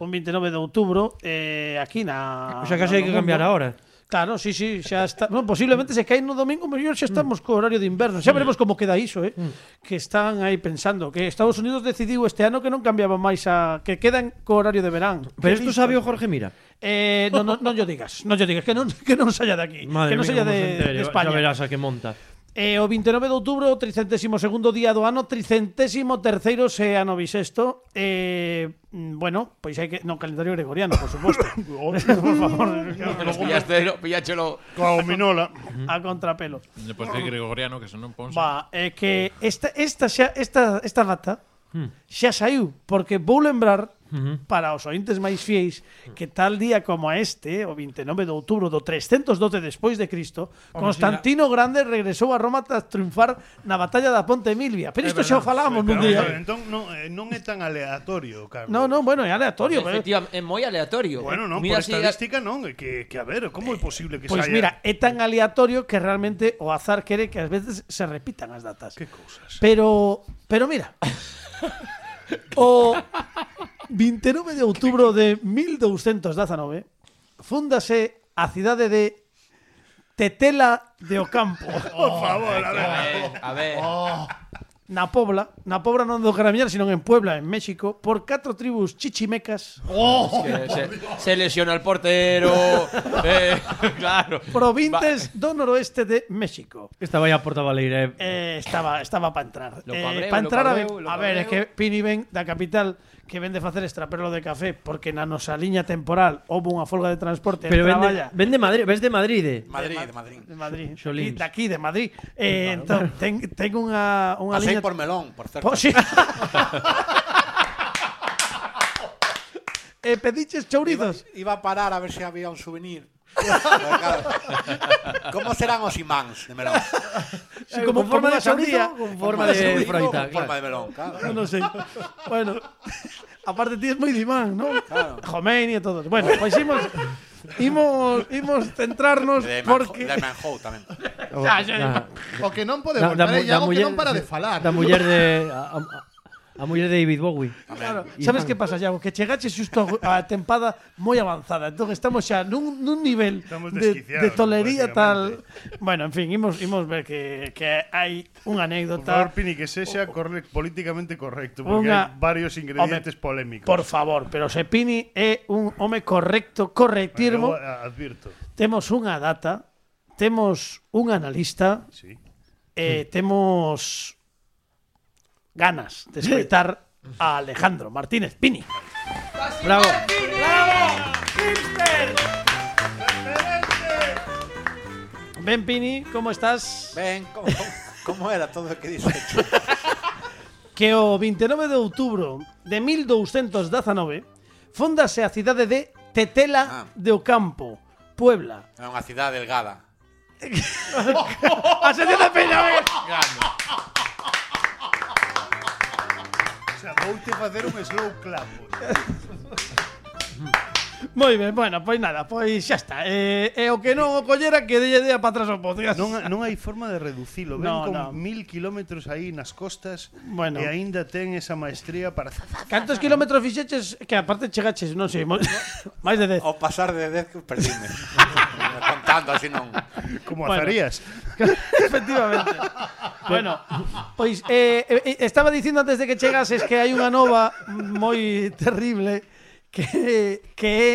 Speaker 2: Un 29 de outubro eh, aquí na
Speaker 4: O sea,
Speaker 2: na-
Speaker 4: casi hai
Speaker 2: no
Speaker 4: que cambiar
Speaker 2: mundo.
Speaker 4: ahora.
Speaker 2: Claro, sí, sí, xa está. No, posiblemente se cae no domingo, mellor xa estamos co horario de inverno. Xa veremos como queda iso, eh.
Speaker 4: Mm.
Speaker 2: Que están aí pensando que Estados Unidos decidiu este ano que non cambiaba máis a que quedan co horario de verán. Que
Speaker 4: Pero isto
Speaker 2: listo.
Speaker 4: sabe o Jorge Mira.
Speaker 2: Eh, non non non yo digas, non yo digas que non que non saia de aquí,
Speaker 4: Madre
Speaker 2: que non
Speaker 4: mía,
Speaker 2: saia
Speaker 4: como se
Speaker 2: de,
Speaker 4: entere,
Speaker 2: de
Speaker 4: Xa
Speaker 2: España.
Speaker 4: verás a que monta.
Speaker 2: Eh, o 29 de outubro, o 32º día do ano, 33º se ano bisexto. Eh, mm, bueno, pois hai que no calendario gregoriano, por suposto. por favor,
Speaker 3: Los pillaste, pillachelo.
Speaker 6: Coa ominola.
Speaker 2: a contrapelo.
Speaker 9: Depois de Gregoriano que son un ponse.
Speaker 2: Va, é que esta esta xa esta esta data xa saiu porque vou lembrar para os ointes máis fiéis que tal día como a este, o 29 de outubro do 312 despois de Cristo, Constantino Grande regresou a Roma tras triunfar na batalla da Ponte Milvia. Pero isto xa o falamos nun
Speaker 6: Vamos a
Speaker 2: día.
Speaker 6: ver, Entón non, eh, non é tan aleatorio, Carlos.
Speaker 2: No, no, bueno, é aleatorio, pero
Speaker 3: Efectivamente, é moi aleatorio.
Speaker 6: Bueno, non,
Speaker 3: Mira
Speaker 6: por
Speaker 3: si-
Speaker 6: estadística non, é que, que a ver, como é posible que
Speaker 2: Pois
Speaker 6: saia...
Speaker 2: Pues mira, é tan aleatorio que realmente o azar quere que ás veces se repitan as datas.
Speaker 6: Que cousas.
Speaker 2: Pero, pero mira. o 29 de outubro de 1219 fúndase a cidade de Tetela de Ocampo. Oh.
Speaker 6: Por favor, a ver.
Speaker 3: A ver, a ver.
Speaker 2: Na Pobla, na Pobla non do Gramillar, sino en Puebla, en México, por catro tribus chichimecas,
Speaker 3: Oh. que se, se lesiona el portero. eh, claro.
Speaker 2: provintes do noroeste de México.
Speaker 4: Esta vai a Porta Valeira. eh.
Speaker 2: Eh, estaba estaba para entrar.
Speaker 3: Lo
Speaker 2: Eh,
Speaker 3: cabreo,
Speaker 2: pa
Speaker 3: lo
Speaker 2: entrar a
Speaker 3: cabreo,
Speaker 2: ver-
Speaker 3: lo
Speaker 2: a ver, es que
Speaker 3: cabreo.
Speaker 2: Pini Ben da capital que vende facer extrapelo de café porque na nosa liña temporal houve unha folga de transporte
Speaker 4: Pero
Speaker 2: en
Speaker 4: vende,
Speaker 2: traballa
Speaker 4: vende Madrid, ves de Madrid. eh?
Speaker 8: Madrid, de Madrid.
Speaker 2: de Madrid,
Speaker 4: Xolíns.
Speaker 2: aquí, de aquí, de Madrid. Eh, entón, ten, ten unha, unha
Speaker 8: Pasei
Speaker 2: liña...
Speaker 8: por Melón, por certo.
Speaker 2: Po- sí. eh, pediches
Speaker 8: Iba,
Speaker 2: chourizos.
Speaker 8: iba a parar a ver se había un souvenir. Pero claro, Como serán os imáns de melón?
Speaker 4: Sí, como
Speaker 2: con
Speaker 4: forma
Speaker 2: forma
Speaker 4: de
Speaker 2: de sandía,
Speaker 4: chorizo, con forma de
Speaker 8: souvenir ou
Speaker 4: froita,
Speaker 8: con forma
Speaker 4: claro.
Speaker 8: de melón, claro.
Speaker 2: No, non sei. Bueno, aparte ti es moi dimán, non?
Speaker 8: Claro.
Speaker 2: Jomeini e todos. Bueno, pois imos... Imos, imos centrarnos
Speaker 8: De
Speaker 2: porque...
Speaker 8: Manhou- de Manhou tamén.
Speaker 2: Xa, xa,
Speaker 4: Da-
Speaker 7: O que non
Speaker 4: da-
Speaker 7: podemos,
Speaker 4: da
Speaker 7: vale,
Speaker 4: mu- da
Speaker 7: e algo que
Speaker 4: muller-
Speaker 7: non para de falar.
Speaker 4: Da muller de a, a, a muller de David Bowie.
Speaker 2: Claro, sabes que pasa, Iago? Que chegaches xusto a a tempada moi avanzada. Entón estamos xa nun, nun nivel
Speaker 6: Estamos
Speaker 2: de, de
Speaker 6: desquiciados,
Speaker 2: tolería tal... Bueno, en fin, imos, imos ver que, que hai unha
Speaker 6: Por favor,
Speaker 2: anécdota...
Speaker 6: Pini, que se sea corre- políticamente correcto,
Speaker 2: Unha-
Speaker 6: porque hay varios
Speaker 2: Home,
Speaker 6: ingredientes polémicos.
Speaker 2: Por favor, pero se Pini é un home correcto, correctirmo.
Speaker 6: Eu a- advirto.
Speaker 2: Temos unha data, temos un analista,
Speaker 6: Sí.
Speaker 2: eh, temos ganas de escoitar a Alejandro Martínez Pini.
Speaker 4: Bravo.
Speaker 2: Ben Pini, como estás?
Speaker 8: Ben, como, como era todo o que dixe?
Speaker 2: que o 29 de outubro de 1219 fondase a cidade de
Speaker 8: Ah.
Speaker 2: Tetela de Ocampo, Puebla.
Speaker 8: É unha cidade delgada.
Speaker 2: A sección de Peña, venga.
Speaker 6: O sea, voute facer un slow clap.
Speaker 2: Moi ben, bueno, pois nada, pois xa está. Eh, e o que non o collera que delle dea para atrás o podcast.
Speaker 6: Non, non hai forma de reducilo. Ven
Speaker 2: No,
Speaker 6: con
Speaker 2: no.
Speaker 6: mil kilómetros aí nas costas
Speaker 2: Bueno.
Speaker 6: e aínda ten esa maestría para...
Speaker 2: Cantos kilómetros fixeches que aparte chegaches, non sei, mo- máis de 10.
Speaker 8: Ao pasar de 10 que perdíme. Contando así non.
Speaker 6: Como
Speaker 2: Bueno.
Speaker 6: azarías.
Speaker 2: Efectivamente. bueno, pois eh, eh, eh, estaba dicindo antes de que chegases que hai unha nova moi terrible que que é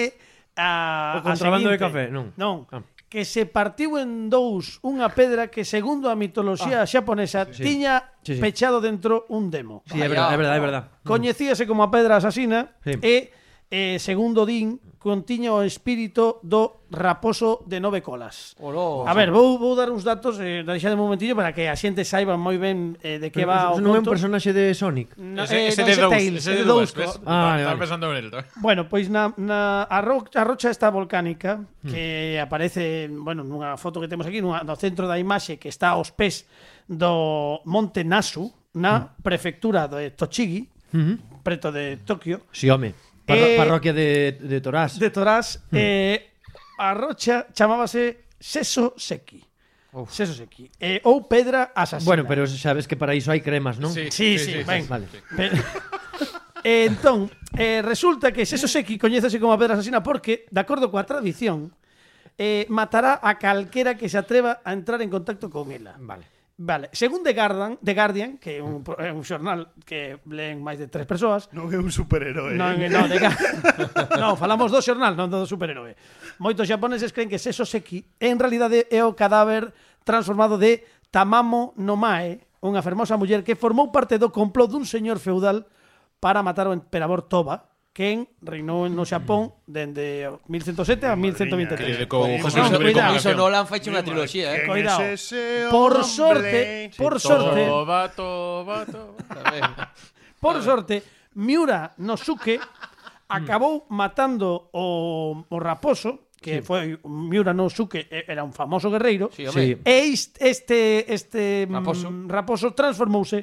Speaker 2: a
Speaker 4: O contrabando
Speaker 2: a
Speaker 4: de café,
Speaker 2: seguinte.
Speaker 4: non.
Speaker 2: Non.
Speaker 4: Ah.
Speaker 2: Que se partiu en dous unha pedra que segundo a mitoloxía xaponesa tiña
Speaker 4: Ah. Sí, sí.
Speaker 2: pechado dentro un demo.
Speaker 4: Sí, é verdade, é verdade, é verdade.
Speaker 2: Coñecíase como a pedra asasina
Speaker 4: Sí.
Speaker 2: e eh, segundo din contiña o espírito do raposo de nove colas.
Speaker 3: Oló.
Speaker 2: A ver, vou, vou dar uns datos, eh, deixade un momentillo para que a xente saiba moi ben eh, de que va o
Speaker 4: non é un
Speaker 2: conto.
Speaker 4: personaxe de Sonic.
Speaker 2: No,
Speaker 9: Ese-
Speaker 2: eh,
Speaker 9: ese
Speaker 2: no,
Speaker 9: de
Speaker 2: ese
Speaker 9: dous,
Speaker 2: Tails,
Speaker 9: ese
Speaker 2: ese
Speaker 9: de
Speaker 2: dous,
Speaker 9: dous, ves?
Speaker 2: co-
Speaker 4: Ah, vale,
Speaker 9: Estaba
Speaker 4: vale.
Speaker 9: pensando en él.
Speaker 2: Bueno, pois na, na a, ro, a rocha esta volcánica
Speaker 4: Hmm.
Speaker 2: que aparece, bueno, nunha foto que temos aquí, nunha, no centro da imaxe que está aos pés do Monte Nasu, na
Speaker 4: Hmm.
Speaker 2: prefectura de Tochigi, preto de Tokio,
Speaker 4: Si, home. Parro
Speaker 2: Eh,
Speaker 4: parroquia de, de Hmm. Torás.
Speaker 2: de Torás, eh, a rocha chamábase Seso Seki. Seso Seki. Eh, ou pedra asasina.
Speaker 4: bueno, pero sabes que para iso hai cremas, non?
Speaker 2: Sí, sí, ben.
Speaker 4: Vale.
Speaker 2: Pero- Eh, entón, eh, resulta que Seso Seki coñécese como a pedra asasina porque, de acordo coa tradición, eh, matará a calquera que se atreva a entrar en contacto con ela.
Speaker 4: Vale.
Speaker 2: Vale, según The Guardian, The Guardian que é un, pro- é un xornal que leen máis de tres persoas,
Speaker 6: Non é un superheroe.
Speaker 2: Non,
Speaker 6: eh.
Speaker 2: no, de ca- non, falamos do xornal, non do superhéroe. Moitos japoneses creen que Seso Seki en realidade é o cadáver transformado de Tamamo no Mae, unha fermosa muller que formou parte do complot dun señor feudal para matar o emperador Toba, quen reinou no Xapón dende o 1107 a
Speaker 9: Que le
Speaker 2: 1123.
Speaker 9: dedicou
Speaker 8: Con-
Speaker 9: José Luis
Speaker 2: con- con-
Speaker 9: Abreu
Speaker 2: con-
Speaker 9: la
Speaker 3: Iso
Speaker 9: canción.
Speaker 3: Nolan fai unha triloxía, eh.
Speaker 6: ¿Quién
Speaker 2: Cuidado.
Speaker 6: es ese
Speaker 2: Por
Speaker 6: hombre?
Speaker 2: sorte, por sorte,
Speaker 9: Toba, toba, toba.
Speaker 2: Por sorte, Miura Nosuke acabou matando o, o raposo, que foi Miura Nosuke e- era un famoso guerreiro.
Speaker 3: Sí, home.
Speaker 4: Sí.
Speaker 2: E is- este este mm,
Speaker 3: Raposo.
Speaker 2: raposo transformouse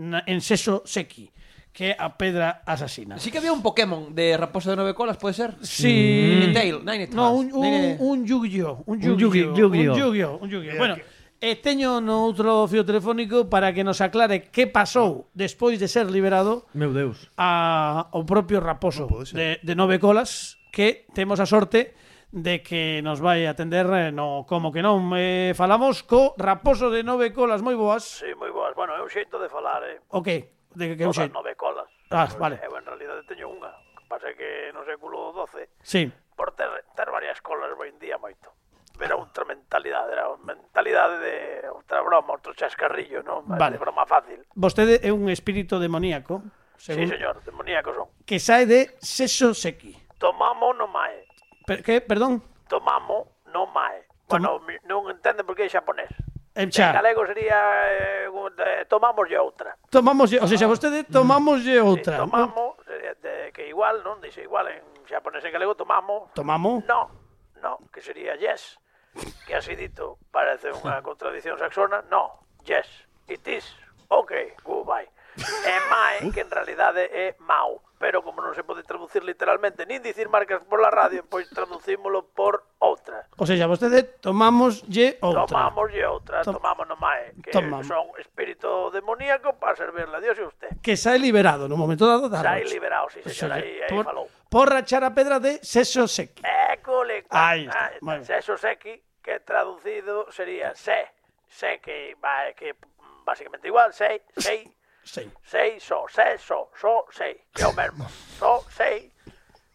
Speaker 2: na- en Seso Seki, que é a pedra asasina.
Speaker 3: Sí que había un Pokémon de raposo de nove colas, pode ser? Mm.
Speaker 2: Sí.
Speaker 3: Tail, Nine
Speaker 2: No, un, un, un Yu-Gi-Oh! Un
Speaker 4: Un
Speaker 2: Yu-Gi-Oh!
Speaker 4: Yu-Gi-Oh.
Speaker 2: Un Yu-Gi-Oh! un Yu-Gi-Oh. Bueno, e teño no outro fio telefónico para que nos aclare que pasou despois de ser liberado
Speaker 4: Meu Deus.
Speaker 2: a, ao propio raposo de, de nove colas que temos a sorte de que nos vai atender eh, no como que non eh, falamos co raposo de nove colas moi boas si, sí, moi boas, bueno, é un xeito de falar eh. o que? de que é un xeito? nove colas ah, vale eu en realidade teño unha pase que no século XII sí. por ter, ter varias colas hoy en día moito era outra mentalidade, era mentalidade de outra broma, outro chascarrillo, non? Vale. broma fácil. Vostede é un espírito demoníaco. Según... Sí, señor, demoníaco son.
Speaker 5: que sae de Seso Seki.
Speaker 2: Tomamos no mae.
Speaker 5: Per, que, perdón?
Speaker 2: Tomamos no mae.
Speaker 5: Bueno,
Speaker 2: non entenden por que é xaponés.
Speaker 5: Eh, xa.
Speaker 2: galego sería eh, tomamos lle outra.
Speaker 5: Tomamos, o sea, xa vostede tomamos
Speaker 2: Mm.
Speaker 5: outra.
Speaker 2: Tomamos, eh, de- que igual, non? Dice igual en xaponés e galego tomamos.
Speaker 5: Tomamos.
Speaker 2: No, no, que sería yes. Que así dito parece unha contradición saxona. No, yes, it is. Ok, goodbye. É mai, que en realidade é mau. Pero como non se pode traducir literalmente nin dicir marcas por la radio, pois traducímolo por outra.
Speaker 5: O sea, xa vostede tomamos outra.
Speaker 2: Tomamos e outra,
Speaker 5: Tom-
Speaker 2: tomamos no mae, que
Speaker 5: Tomamos.
Speaker 2: son espírito demoníaco para servirle a Dios e a usted.
Speaker 5: Que sae liberado no momento dado da
Speaker 2: Sai
Speaker 5: noche.
Speaker 2: liberado, sí,
Speaker 5: Pois,
Speaker 2: señor, aí,
Speaker 5: oye,
Speaker 2: aí
Speaker 5: por,
Speaker 2: falou.
Speaker 5: por rachar a pedra de Seso Seki.
Speaker 2: École.
Speaker 5: Ahí está,
Speaker 2: Ah,
Speaker 5: muy bien.
Speaker 2: Eso seki, que traducido sería se. Sé que, va- que básicamente igual, sei, sei,
Speaker 5: Sí.
Speaker 2: sei, so, se, so, so, sei. Yo mismo. So, sei,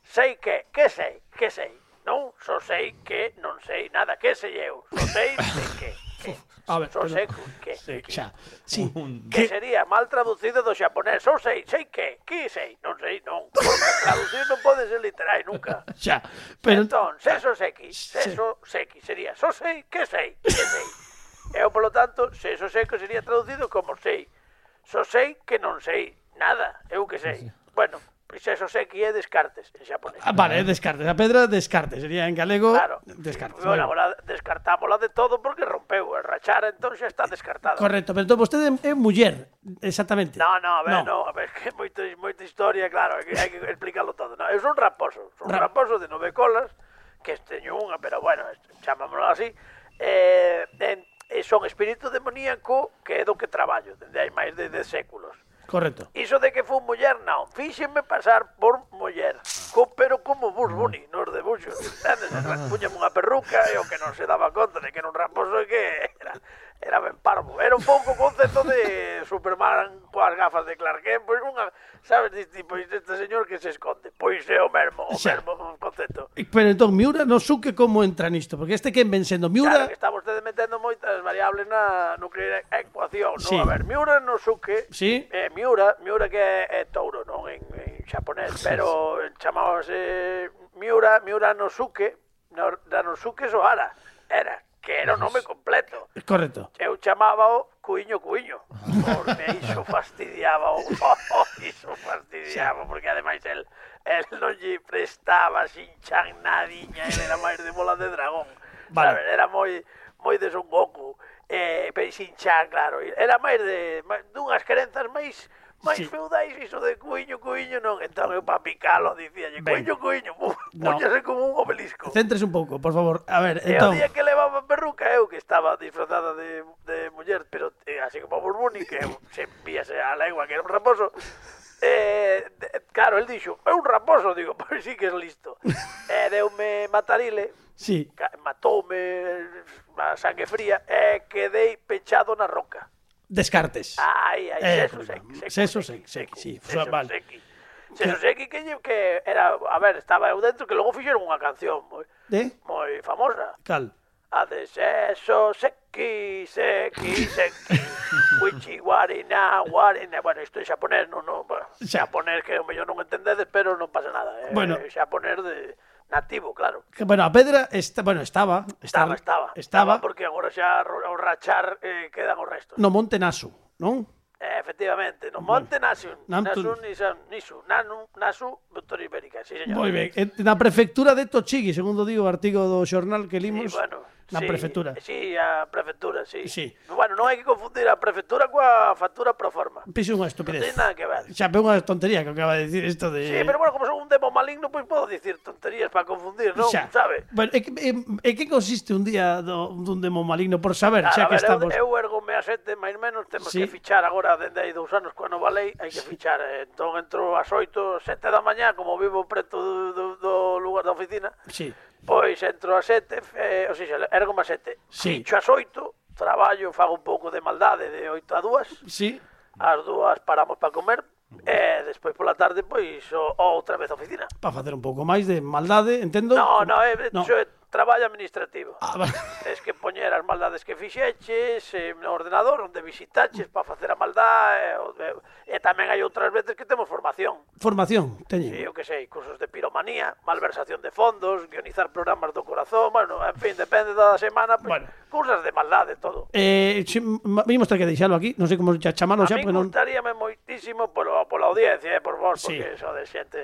Speaker 2: sei que, que sei, que sei. Non, so sei que non sei nada, que sei eu. So sei de que. que.
Speaker 5: A ver,
Speaker 2: so
Speaker 5: perdón.
Speaker 2: sei que.
Speaker 5: Sí,
Speaker 2: que.
Speaker 5: xa. Sí.
Speaker 2: Que
Speaker 5: Que,
Speaker 2: sería mal traducido do xaponés. So sei, sei que, que sei, non sei, non. Porque traducir non pode ser literal nunca.
Speaker 5: xa. Pero ah,
Speaker 2: Entón, se sos X, se
Speaker 5: Sí.
Speaker 2: sos X sería so sei, que sei, que sei. Eu, polo tanto, se sos X sería traducido como sei. So sei que non sei nada, eu que sei. Bueno, pois se sos X é descartes en xaponés.
Speaker 5: Ah, Vale, descarte. A pedra, descarte. Sería en galego,
Speaker 2: Claro.
Speaker 5: descarte.
Speaker 2: Bueno, agora descartámola de todo porque rompeu. El rachar, entón, xa está descartada.
Speaker 5: Correcto, pero entón vostede é muller, exactamente.
Speaker 2: No, no, a ver, no, a ver, que é moito, moita historia, claro, hai que, hai que explicarlo todo. No, eu son raposo, son
Speaker 5: Ra-
Speaker 2: raposo de nove colas, que teño unha, pero bueno, chamámoslo así. Eh, en, e son espírito demoníaco que é do que traballo, dende hai máis de 10 séculos.
Speaker 5: Correcto.
Speaker 2: Iso de que fun muller, non. Fíxenme pasar por muller. Co, pero como Bugs Bunny, nos de buxos. Puñame unha perruca e o que non se daba conta de que era un raposo e que era, era ben parvo. Era un pouco o concepto de Superman coas gafas de Clark Kent. Pois unha, sabes, diste, pois este señor que se esconde. Pois é o mesmo, o
Speaker 5: Xa.
Speaker 2: mesmo concepto.
Speaker 5: E- Pero entón, Miura non suque como entra nisto, porque este que ven sendo
Speaker 2: Claro
Speaker 5: Miura...
Speaker 2: que está vostede metendo moitas variables na nuclear ecuación, non?
Speaker 5: Sí.
Speaker 2: A ver, Miura no suque,
Speaker 5: Sí.
Speaker 2: eh, Miura, Miura que é, é touro, non? En, en xaponés, pero chamábase Miura, Miura no suque, no, da no suque Sohara, era, que era o nome completo.
Speaker 5: Correcto.
Speaker 2: Eu chamábao Cuiño Cuiño, porque iso fastidiaba, o- oh, iso fastidiaba, porque ademais el, el non lle prestaba sin chan nadiña, el era máis de bola de dragón,
Speaker 5: Vale.
Speaker 2: vale. era moi moi de Son Goku, eh, pero sin chan, claro, era máis de máis, dunhas querenzas máis máis
Speaker 5: Sí.
Speaker 2: sí. feudais iso de cuiño, cuiño, non, entón eu pa picalo dicíalle,
Speaker 5: Ben.
Speaker 2: cuiño, cuiño,
Speaker 5: No.
Speaker 2: puñase como un obelisco.
Speaker 5: Céntrese un pouco, por favor. A ver,
Speaker 2: E o
Speaker 5: entón...
Speaker 2: día que levaba perruca eu que estaba disfrazada de, de muller, pero eh, así como Burbuni, que eu se envíase a lengua que era un raposo, eh, de- claro, el dixo, é un raposo, digo, pois sí que es listo. E deume matarile,
Speaker 5: Sí.
Speaker 2: ca- matoume a sangue fría, e quedei pechado na roca.
Speaker 5: Descartes.
Speaker 2: Ai, ai,
Speaker 5: Eh,
Speaker 2: seso sequi, sequi,
Speaker 5: seso
Speaker 2: sequi,
Speaker 5: sequi, sequi, sí,
Speaker 2: seso
Speaker 5: fa- vale.
Speaker 2: sequi. Seso sequi que, lle- que era, a ver, estaba eu dentro, que logo fixeron unha canción moi,
Speaker 5: De?
Speaker 2: moi famosa.
Speaker 5: Cal.
Speaker 2: A de seso seki, seki, seki. Wichi warina, warina. Bueno, isto é xaponés, non, non, bueno,
Speaker 5: Xa.
Speaker 2: xaponés que o mellor non entendedes, pero non pasa nada. Eh,
Speaker 5: Bueno.
Speaker 2: Xaponés de nativo, claro.
Speaker 5: Que, Bueno, a pedra está, bueno, estaba,
Speaker 2: Estaba,
Speaker 5: estaba,
Speaker 2: estaba.
Speaker 5: estaba,
Speaker 2: porque agora xa ro- ao rachar eh, quedan os restos.
Speaker 5: no Monte Nasu, non?
Speaker 2: Eh, efectivamente, no monte nasun,
Speaker 5: Nantu-
Speaker 2: nasun, nisan, nisu, nanu, nasu, vector ibérica, sí, señor.
Speaker 5: Moi ben, eh, na prefectura de Tochigi, segundo digo o artigo do xornal que
Speaker 2: Sí,
Speaker 5: limos,
Speaker 2: bueno,
Speaker 5: na
Speaker 2: sí,
Speaker 5: prefectura.
Speaker 2: Sí, a prefectura, sí.
Speaker 5: Sí.
Speaker 2: Bueno, non hai que confundir a prefectura coa factura pro forma.
Speaker 5: Pixe
Speaker 2: Non
Speaker 5: unha estupidez.
Speaker 2: ten nada que ver.
Speaker 5: Xa, pero unha tontería que acaba de decir isto de...
Speaker 2: Sí, pero bueno, como son un demo maligno, pois podo dicir tonterías para confundir, non?
Speaker 5: Xa.
Speaker 2: Sabe?
Speaker 5: Bueno, é que, é, é que consiste un día do, dun demo maligno por saber,
Speaker 2: Claro,
Speaker 5: xa
Speaker 2: a ver,
Speaker 5: que estamos...
Speaker 2: eu, eu ergo a sete, máis menos, temos
Speaker 5: Sí.
Speaker 2: que fichar agora dende hai dous anos coa nova lei, hai que fichar, eh, entón entro ás oito, sete da mañá, como vivo preto do, do, do lugar da oficina,
Speaker 5: Sí,
Speaker 2: pois entro ás sete, eh, ou seja, ergo a sete,
Speaker 5: Sí.
Speaker 2: ficho ás oito, traballo, fago un pouco de maldade de oito a dúas,
Speaker 5: sí,
Speaker 2: ás dúas paramos para comer, e despois pola tarde, pois, o, outra vez a oficina.
Speaker 5: para facer un pouco máis de maldade, entendo.
Speaker 2: No, no, é, no.
Speaker 5: No. Ah,
Speaker 2: Yo, Traballo administrativo. Tes que poñer as maldades que fixeches eh, no ordenador onde visitaches para facer a maldade e, e tamén hai outras veces que temos formación. Formación, teñen. Sí, eu que sei, cursos de piromanía, malversación de fondos, guionizar programas do corazón, bueno, en fin, depende da semana, pues, bueno. cursas de maldade todo. Eh, si, vimos ter que deixalo aquí, non sei como chamalo xa, porque non gustaríame moitísimo polo, pola audiencia, eh, por vos, sí. porque eso de xente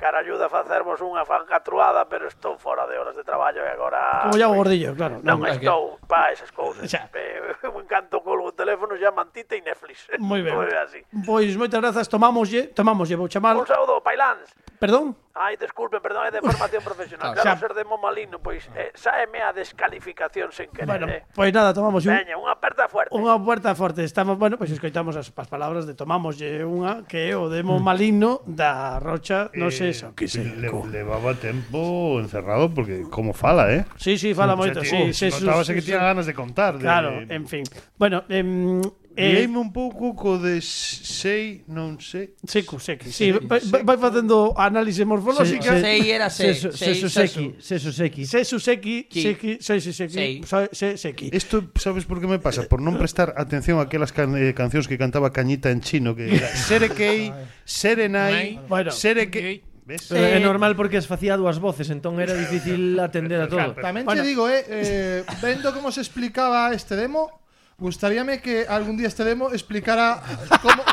Speaker 2: cara ayuda a facervos unha fancatruada, pero estou fora de horas de traballo e agora... Como llamo gordillo, claro. Non, non estou que... pa esas cousas. Xa. Eh, un canto colgo o teléfono, xa mantita e Netflix. Moi ben. Moi así. Pois moitas grazas, tomámoslle, tomámoslle, vou chamar... Un saúdo, Pailans. Perdón? Ai, desculpen, perdón, é de formación profesional. Claro, ser de Momalino, pois, eh, saeme a descalificación sen querer. Bueno, eh. pois nada, tomamos un... Veña, unha aperta fuerte. Unha aperta fuerte. Estamos, bueno, pois escoitamos as, as palabras de tomámoslle unha que é o demo maligno da Rocha, non sei eso, que sei.
Speaker 6: Eh, Le, levaba tempo encerrado porque como fala, eh?
Speaker 2: Sí, sí, fala moito, sí, sí, sí, sí,
Speaker 6: Notabase oh, que
Speaker 2: sí.
Speaker 6: tiña ganas de contar. de-
Speaker 2: Claro, en fin. Bueno, em, eh,
Speaker 6: Guíame un pouco co de sei, non sei.
Speaker 2: seco, seco. Sí, vai, vai facendo análise morfolóxica.
Speaker 3: Sei era sei.
Speaker 4: Seso-
Speaker 3: sei,
Speaker 4: Seso
Speaker 3: seso.
Speaker 4: Seki, Seso Seki.
Speaker 2: Sesu sequi,
Speaker 3: Ki.
Speaker 2: sequi, sesu sequi,
Speaker 3: Sei.
Speaker 2: sa- se- sequi.
Speaker 6: Esto, sabes por que me pasa? Por non prestar atención a aquelas can eh, cancións que cantaba Cañita en chino que era Serekei, Serenai,
Speaker 2: Bueno.
Speaker 6: Serekei. ¿Ves?
Speaker 4: Pero é Eh, normal porque as facía dúas voces, entón era difícil atender a todo.
Speaker 7: También
Speaker 2: Bueno.
Speaker 7: te digo, eh, eh, vendo cómo se explicaba este demo. Gustaríame que algún día este demo explicara cómo,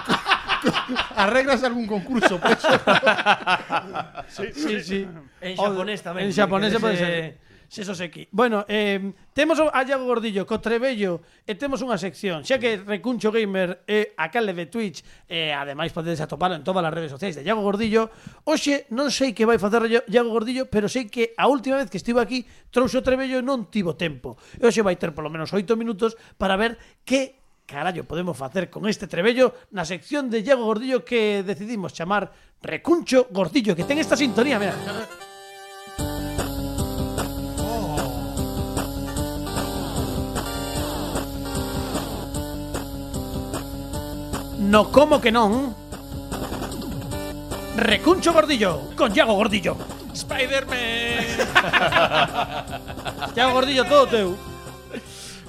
Speaker 7: arreglas algún concurso. pues.
Speaker 2: Sí, sí.
Speaker 4: En xaponés tamén,
Speaker 2: En xaponés se
Speaker 4: porque
Speaker 2: pode
Speaker 4: ese-
Speaker 2: ser. Seso sequi. Bueno, eh, temos a Iago Gordillo co Trebello e temos unha sección xa que Recuncho Gamer é a cale de Twitch e ademais podedes atopalo en todas as redes sociais de Iago Gordillo hoxe non sei que vai facer Ia- Iago Gordillo pero sei que a última vez que estive aquí trouxo o Trebello e non tivo tempo e hoxe vai ter polo menos oito minutos para ver que carallo podemos facer con este Trebello na sección de Iago Gordillo que decidimos chamar Recuncho Gordillo que ten esta sintonía, mira No como que non Recuncho Gordillo Con Iago Gordillo
Speaker 9: Spider-Man.
Speaker 2: Iago Gordillo todo teu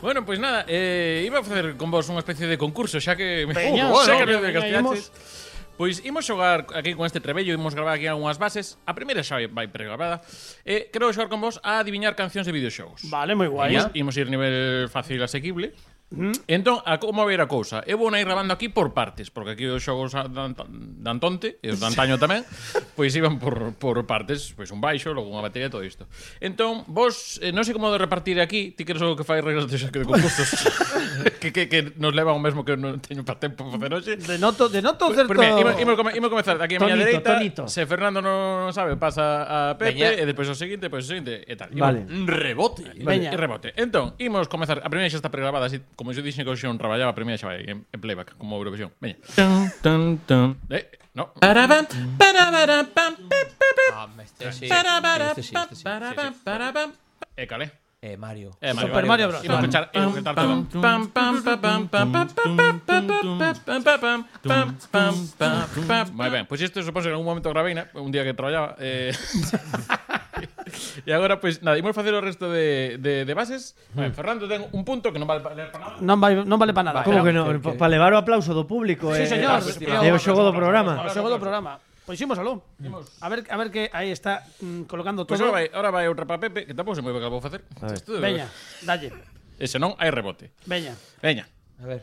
Speaker 9: bueno, pois nada, eh, iba a facer con vos unha especie de concurso, xa que
Speaker 2: Veña,
Speaker 9: xa que
Speaker 2: veña,
Speaker 9: me
Speaker 2: veña,
Speaker 9: castigaches. Pois imos xogar aquí con este trebello, imos gravar aquí algunhas bases. A primeira xa vai pregrabada. Eh, quero xogar con vos a adiviñar cancións de videoxogos.
Speaker 2: Vale, moi guai Mm-hmm.
Speaker 9: Imos, imos ir nivel fácil asequible. Entón, a como ver a cousa? Eu vou ir grabando aquí por partes, porque aquí os xogos a- dan, dan tonte, e os de antaño tamén, pois iban por, por partes, pois un baixo, logo unha batería e todo isto. Entón, vos, eh, non sei como de repartir aquí, ti queres algo que fai reglas de, de concursos, que, que, que nos leva ao mesmo que non teño para tempo para facer hoxe.
Speaker 2: Denoto, denoto
Speaker 9: Pois,
Speaker 2: certo
Speaker 9: pois mira, Imos, imos, come- imos comezar aquí a miña
Speaker 4: Tonito,
Speaker 9: dereita.
Speaker 4: tonito.
Speaker 9: Se Fernando non sabe, pasa a Pepe
Speaker 3: Veña.
Speaker 9: e despois o seguinte, pois o seguinte e tal. Imos-
Speaker 4: Vale.
Speaker 3: Un rebote.
Speaker 2: Veña.
Speaker 9: E rebote. Entón, imos comezar. A primeira xa está pregrabada, así como eu dixen que hoxe non traballaba, a primeira xa vai en, en playback, como Eurovisión. Veña. Tan, tan, tan. Eh, no.
Speaker 11: Parabam, parabam, pam, pip, pip, pip.
Speaker 3: Ah, este sí.
Speaker 11: Parabam,
Speaker 3: Este sí,
Speaker 11: pam,
Speaker 3: este sí.
Speaker 11: parabam, parabam.
Speaker 9: E cale.
Speaker 3: Eh, Mario.
Speaker 9: Eh, Mario,
Speaker 2: Super Mario Bros.
Speaker 9: Imos pechar, imos pechar todo.
Speaker 11: Pam, pam, pam, pam, pam, pam, pam, pam, pam, pam, pam, pam, pam, pam, pam, pam, pam, pam.
Speaker 9: Moi ben, pois isto Pues supongo que en algún momento gravei, na- un día que traballaba. Eh... e agora, pois, nada, imos facer o resto de, de, de bases. Ben, Fernando ten un punto que non vale para ler para nada.
Speaker 2: Non, vai, non vale para nada
Speaker 4: Como
Speaker 2: Como
Speaker 4: que non? Para levar o aplauso do público
Speaker 2: Sí,
Speaker 4: eh,
Speaker 2: señor.
Speaker 4: É o xogo do programa.
Speaker 2: O segundo programa Pois imos aló A ver, a ver que aí está mm, colocando
Speaker 9: Pois
Speaker 2: todo
Speaker 9: agora vai, Pues ahora vai outra para Pepe, que tampouco se moi ben que vou facer. Isto-
Speaker 2: Veña, dalle
Speaker 9: E se non, hai rebote.
Speaker 2: Veña
Speaker 9: Veña.
Speaker 3: A ver.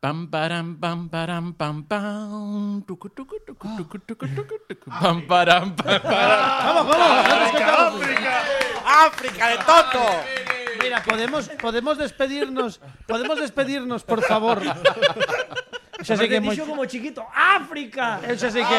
Speaker 9: Pam param pam param pam pam tucu tucu tucu tucu tucu tucu tucu pam param pam param
Speaker 8: ¡África de tonto!
Speaker 2: Mira, podemos, podemos despedirnos, podemos despedirnos, por favor. Xa sei que é moito,
Speaker 4: Dixo como chiquito, África.
Speaker 2: eu xa sei que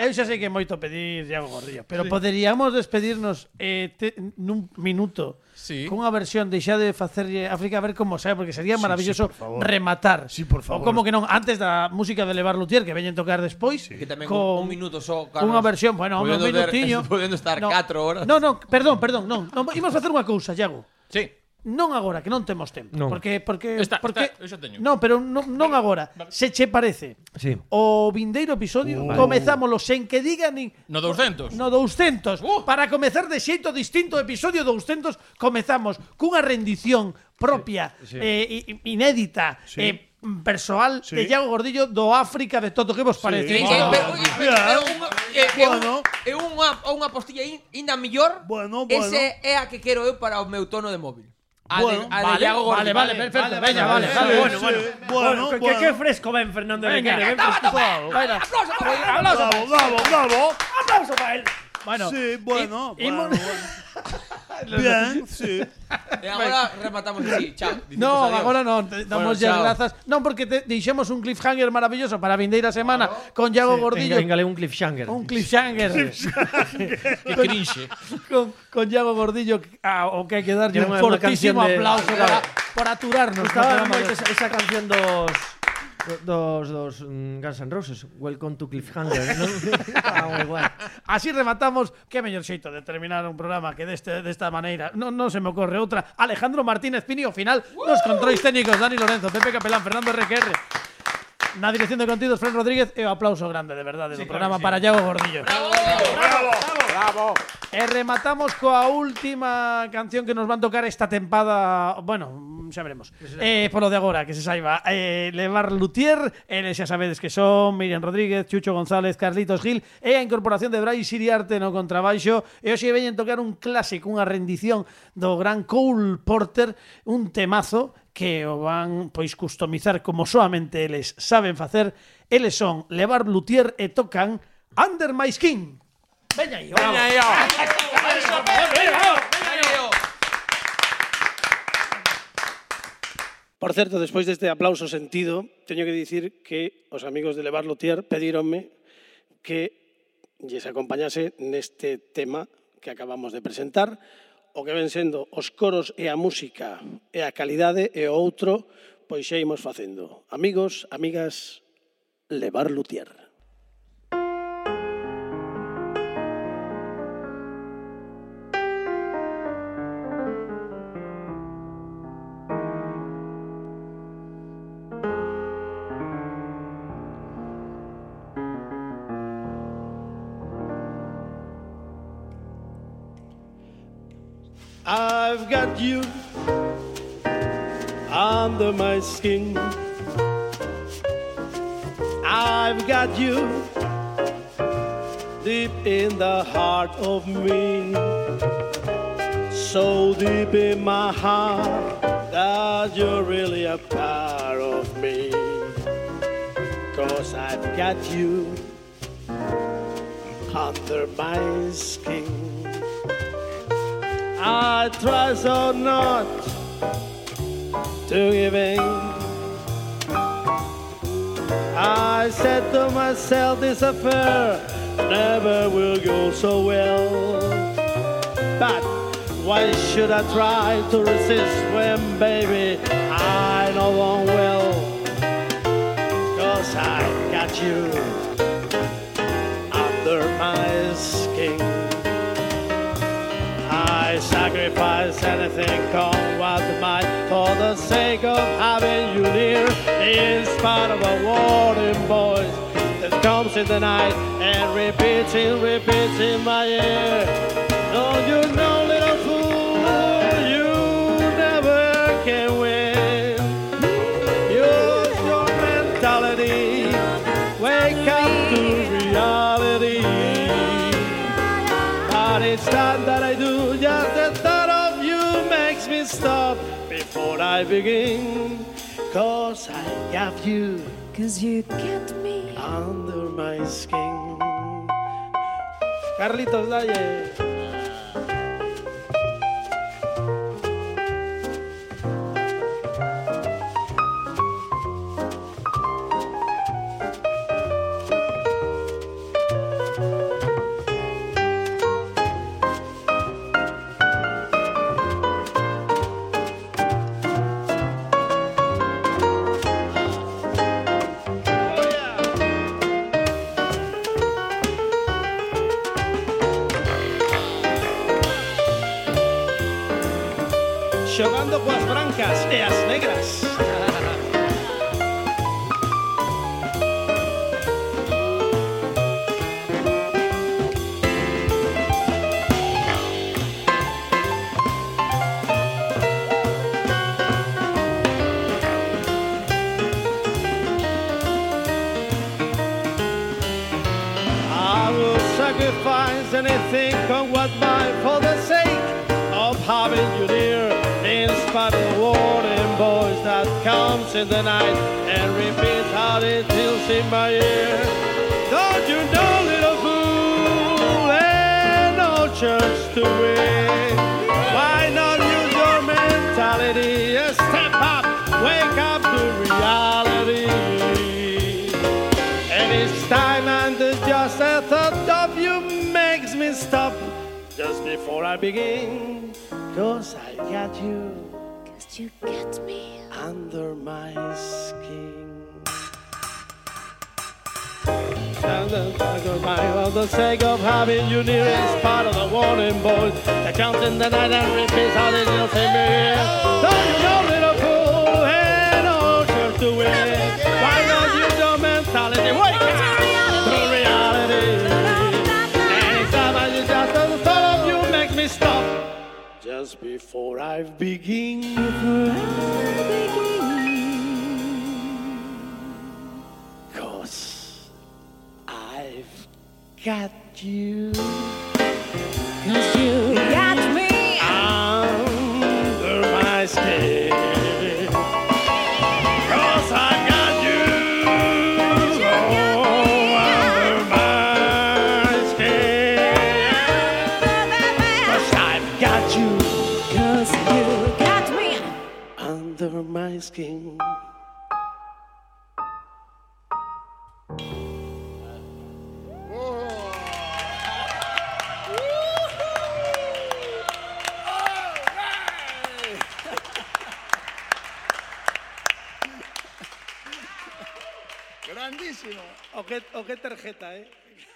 Speaker 2: eu xa sei que é moito pedir Iago Gordillo, pero poderíamos despedirnos eh, te, nun minuto.
Speaker 9: Sí.
Speaker 2: Cunha versión deixa de facerlle África a ver como sae, porque sería maravilloso rematar. Sí, por favor. O como que non, antes da música de Levar Lutier que veñen tocar despois.
Speaker 3: Que tamén
Speaker 2: con-
Speaker 3: con un minuto só, Carlos.
Speaker 2: Unha versión, bueno, un
Speaker 3: Podendo ter-
Speaker 2: minutiño.
Speaker 3: podendo estar
Speaker 2: no,
Speaker 3: catro horas.
Speaker 2: No, no, perdón, perdón, non. non imos facer unha cousa, Iago.
Speaker 9: Sí.
Speaker 2: Non agora, que non temos tempo.
Speaker 4: Non.
Speaker 2: Porque, porque,
Speaker 9: Está,
Speaker 2: porque,
Speaker 9: está, eu xa teño.
Speaker 2: Non, pero non, non agora. Se che parece.
Speaker 4: Sí.
Speaker 2: O vindeiro episodio uh, comezámolo sen que diga nin
Speaker 9: No 200.
Speaker 2: no 200.
Speaker 6: Uh!
Speaker 2: Para comezar de xeito distinto o episodio 200 comezamos cunha rendición propia eh, i- i- inédita eh, persoal
Speaker 6: Sí.
Speaker 2: de Iago Gordillo do África de Toto. Que vos
Speaker 3: Que-
Speaker 2: parece?
Speaker 3: que-
Speaker 2: Isto?
Speaker 3: pero- pero unha- que- que Eh, un- É unha unha postilla in- inda mellor.
Speaker 6: Bueno, bueno.
Speaker 3: Ese é a que quero eu para o meu tono de móvil. A de, a de
Speaker 2: vale,
Speaker 3: Iago
Speaker 2: vale,
Speaker 3: Gordillo.
Speaker 2: vale, perfecto. veña, vale, vale,
Speaker 6: sí,
Speaker 2: bueno,
Speaker 6: sí.
Speaker 2: bueno.
Speaker 6: Bueno,
Speaker 4: que,
Speaker 6: bueno.
Speaker 4: que fresco ven Fernando
Speaker 2: Venga.
Speaker 4: Venga. Ven
Speaker 3: Aplauso,
Speaker 6: Bravo.
Speaker 2: Vale.
Speaker 3: aplauso, aplauso.
Speaker 6: Bravo, bravo, bravo.
Speaker 4: aplauso para él.
Speaker 2: Bueno,
Speaker 6: Sí, bueno,
Speaker 2: y- y
Speaker 6: bueno,
Speaker 2: mon-
Speaker 6: bueno. Bien, sí.
Speaker 3: E agora rematamos así, chao.
Speaker 2: No,
Speaker 3: Dicimos adiós.
Speaker 2: agora non, te- damos bueno,
Speaker 3: Bueno, chao.
Speaker 2: grazas. Non, porque te deixemos un cliffhanger maravilloso para a vindeira semana con Iago Gordillo.
Speaker 4: Engale un cliffhanger.
Speaker 2: Un cliffhanger.
Speaker 9: Que cringe.
Speaker 2: con, con Iago Gordillo ah, o que hai que darlle
Speaker 4: Era
Speaker 2: un
Speaker 4: unha- unha
Speaker 2: fortísimo
Speaker 4: canción de-
Speaker 2: aplauso para,
Speaker 4: Claro.
Speaker 2: por aturarnos.
Speaker 4: Gustaba
Speaker 2: no programa
Speaker 4: moito
Speaker 2: de-
Speaker 4: esa, esa canción dos dos dos mm, Guns N' Roses, Welcome to Cliffhanger, non? ah, moi guai.
Speaker 2: Así rematamos que mellor xeito de este, terminar un programa que deste desta maneira. Non non se me ocorre outra. Alejandro Martínez Pini ao final nos controis técnicos Dani Lorenzo, Pepe Capelán, Fernando RQR. Na dirección de contidos Fran Rodríguez e o aplauso grande de verdade do programa para Iago Gordillo. E rematamos coa última canción que nos van tocar esta tempada Bueno, mm, xa veremos eh, Polo de agora, que se saiba eh, Levar Lutier, eles xa sabedes que son Miriam Rodríguez, Chucho González, Carlitos Gil E a incorporación de Brais Siriarte no contrabaixo E hoxe veñen tocar un clásico, unha rendición do gran Cole Porter Un temazo que o van pois customizar como soamente eles saben facer Eles son Levar Lutier e tocan Under My Skin Veña aí, vamos.
Speaker 12: Por certo, despois deste aplauso sentido, teño que dicir que os amigos de Levar Lutier pedíronme que lles acompañase neste tema que acabamos de presentar, o que ven sendo os coros e a música e a calidade e o outro, pois xa imos facendo. Amigos, amigas, Levar Lutier. I've got you under my skin. I've got you deep in the heart of me. So deep in my heart that you're really a part of me. Cause I've got you under my skin.
Speaker 5: I try so not to give in. I said to myself, this affair never will go so well. But why should I try to resist when, baby, I know one well? Cause I got you under my skin. I sacrifice anything, come what might, for the sake of having you near. In spite of a warning voice that comes in the night and repeats and repeats in my ear. Don't you know, little fool, you never can win. Use your mentality, wake up to reality. But it's time that I do, just the thought of you makes me stop before I begin. Cause I have you. Cause you get me under my skin.
Speaker 12: Carlitos, dale.
Speaker 5: Xogando coas brancas e as negras. I will sacrifice anything come what might for the sake of having you near. In spite of the warning voice that comes in the night and repeats how it tilts in my ear. Don't you know, little fool, ain't no chance to win. Why not use your mentality? Step up, wake up to reality. And it's time and it's just a thought of you makes me stop just before I begin. Cause I got you. Cause you get me under my skin. And the goodbye of the sake of having you near is part of the warning board. The count in the night and repeats how they just in me. Don't you know, little fool, and all church to win. Why not use your mentality? Wake up to reality. Anytime I just the thought of you makes me stop.
Speaker 12: Just before I begin.
Speaker 5: Cause I've
Speaker 12: Got you.
Speaker 5: Cause you got me under my skin. Cause I got you, oh, under my skin. Cause I've got you. Cause you got me
Speaker 12: Under my skin.
Speaker 5: Grandísimo.
Speaker 12: O qué, o qué tarjeta, ¿eh?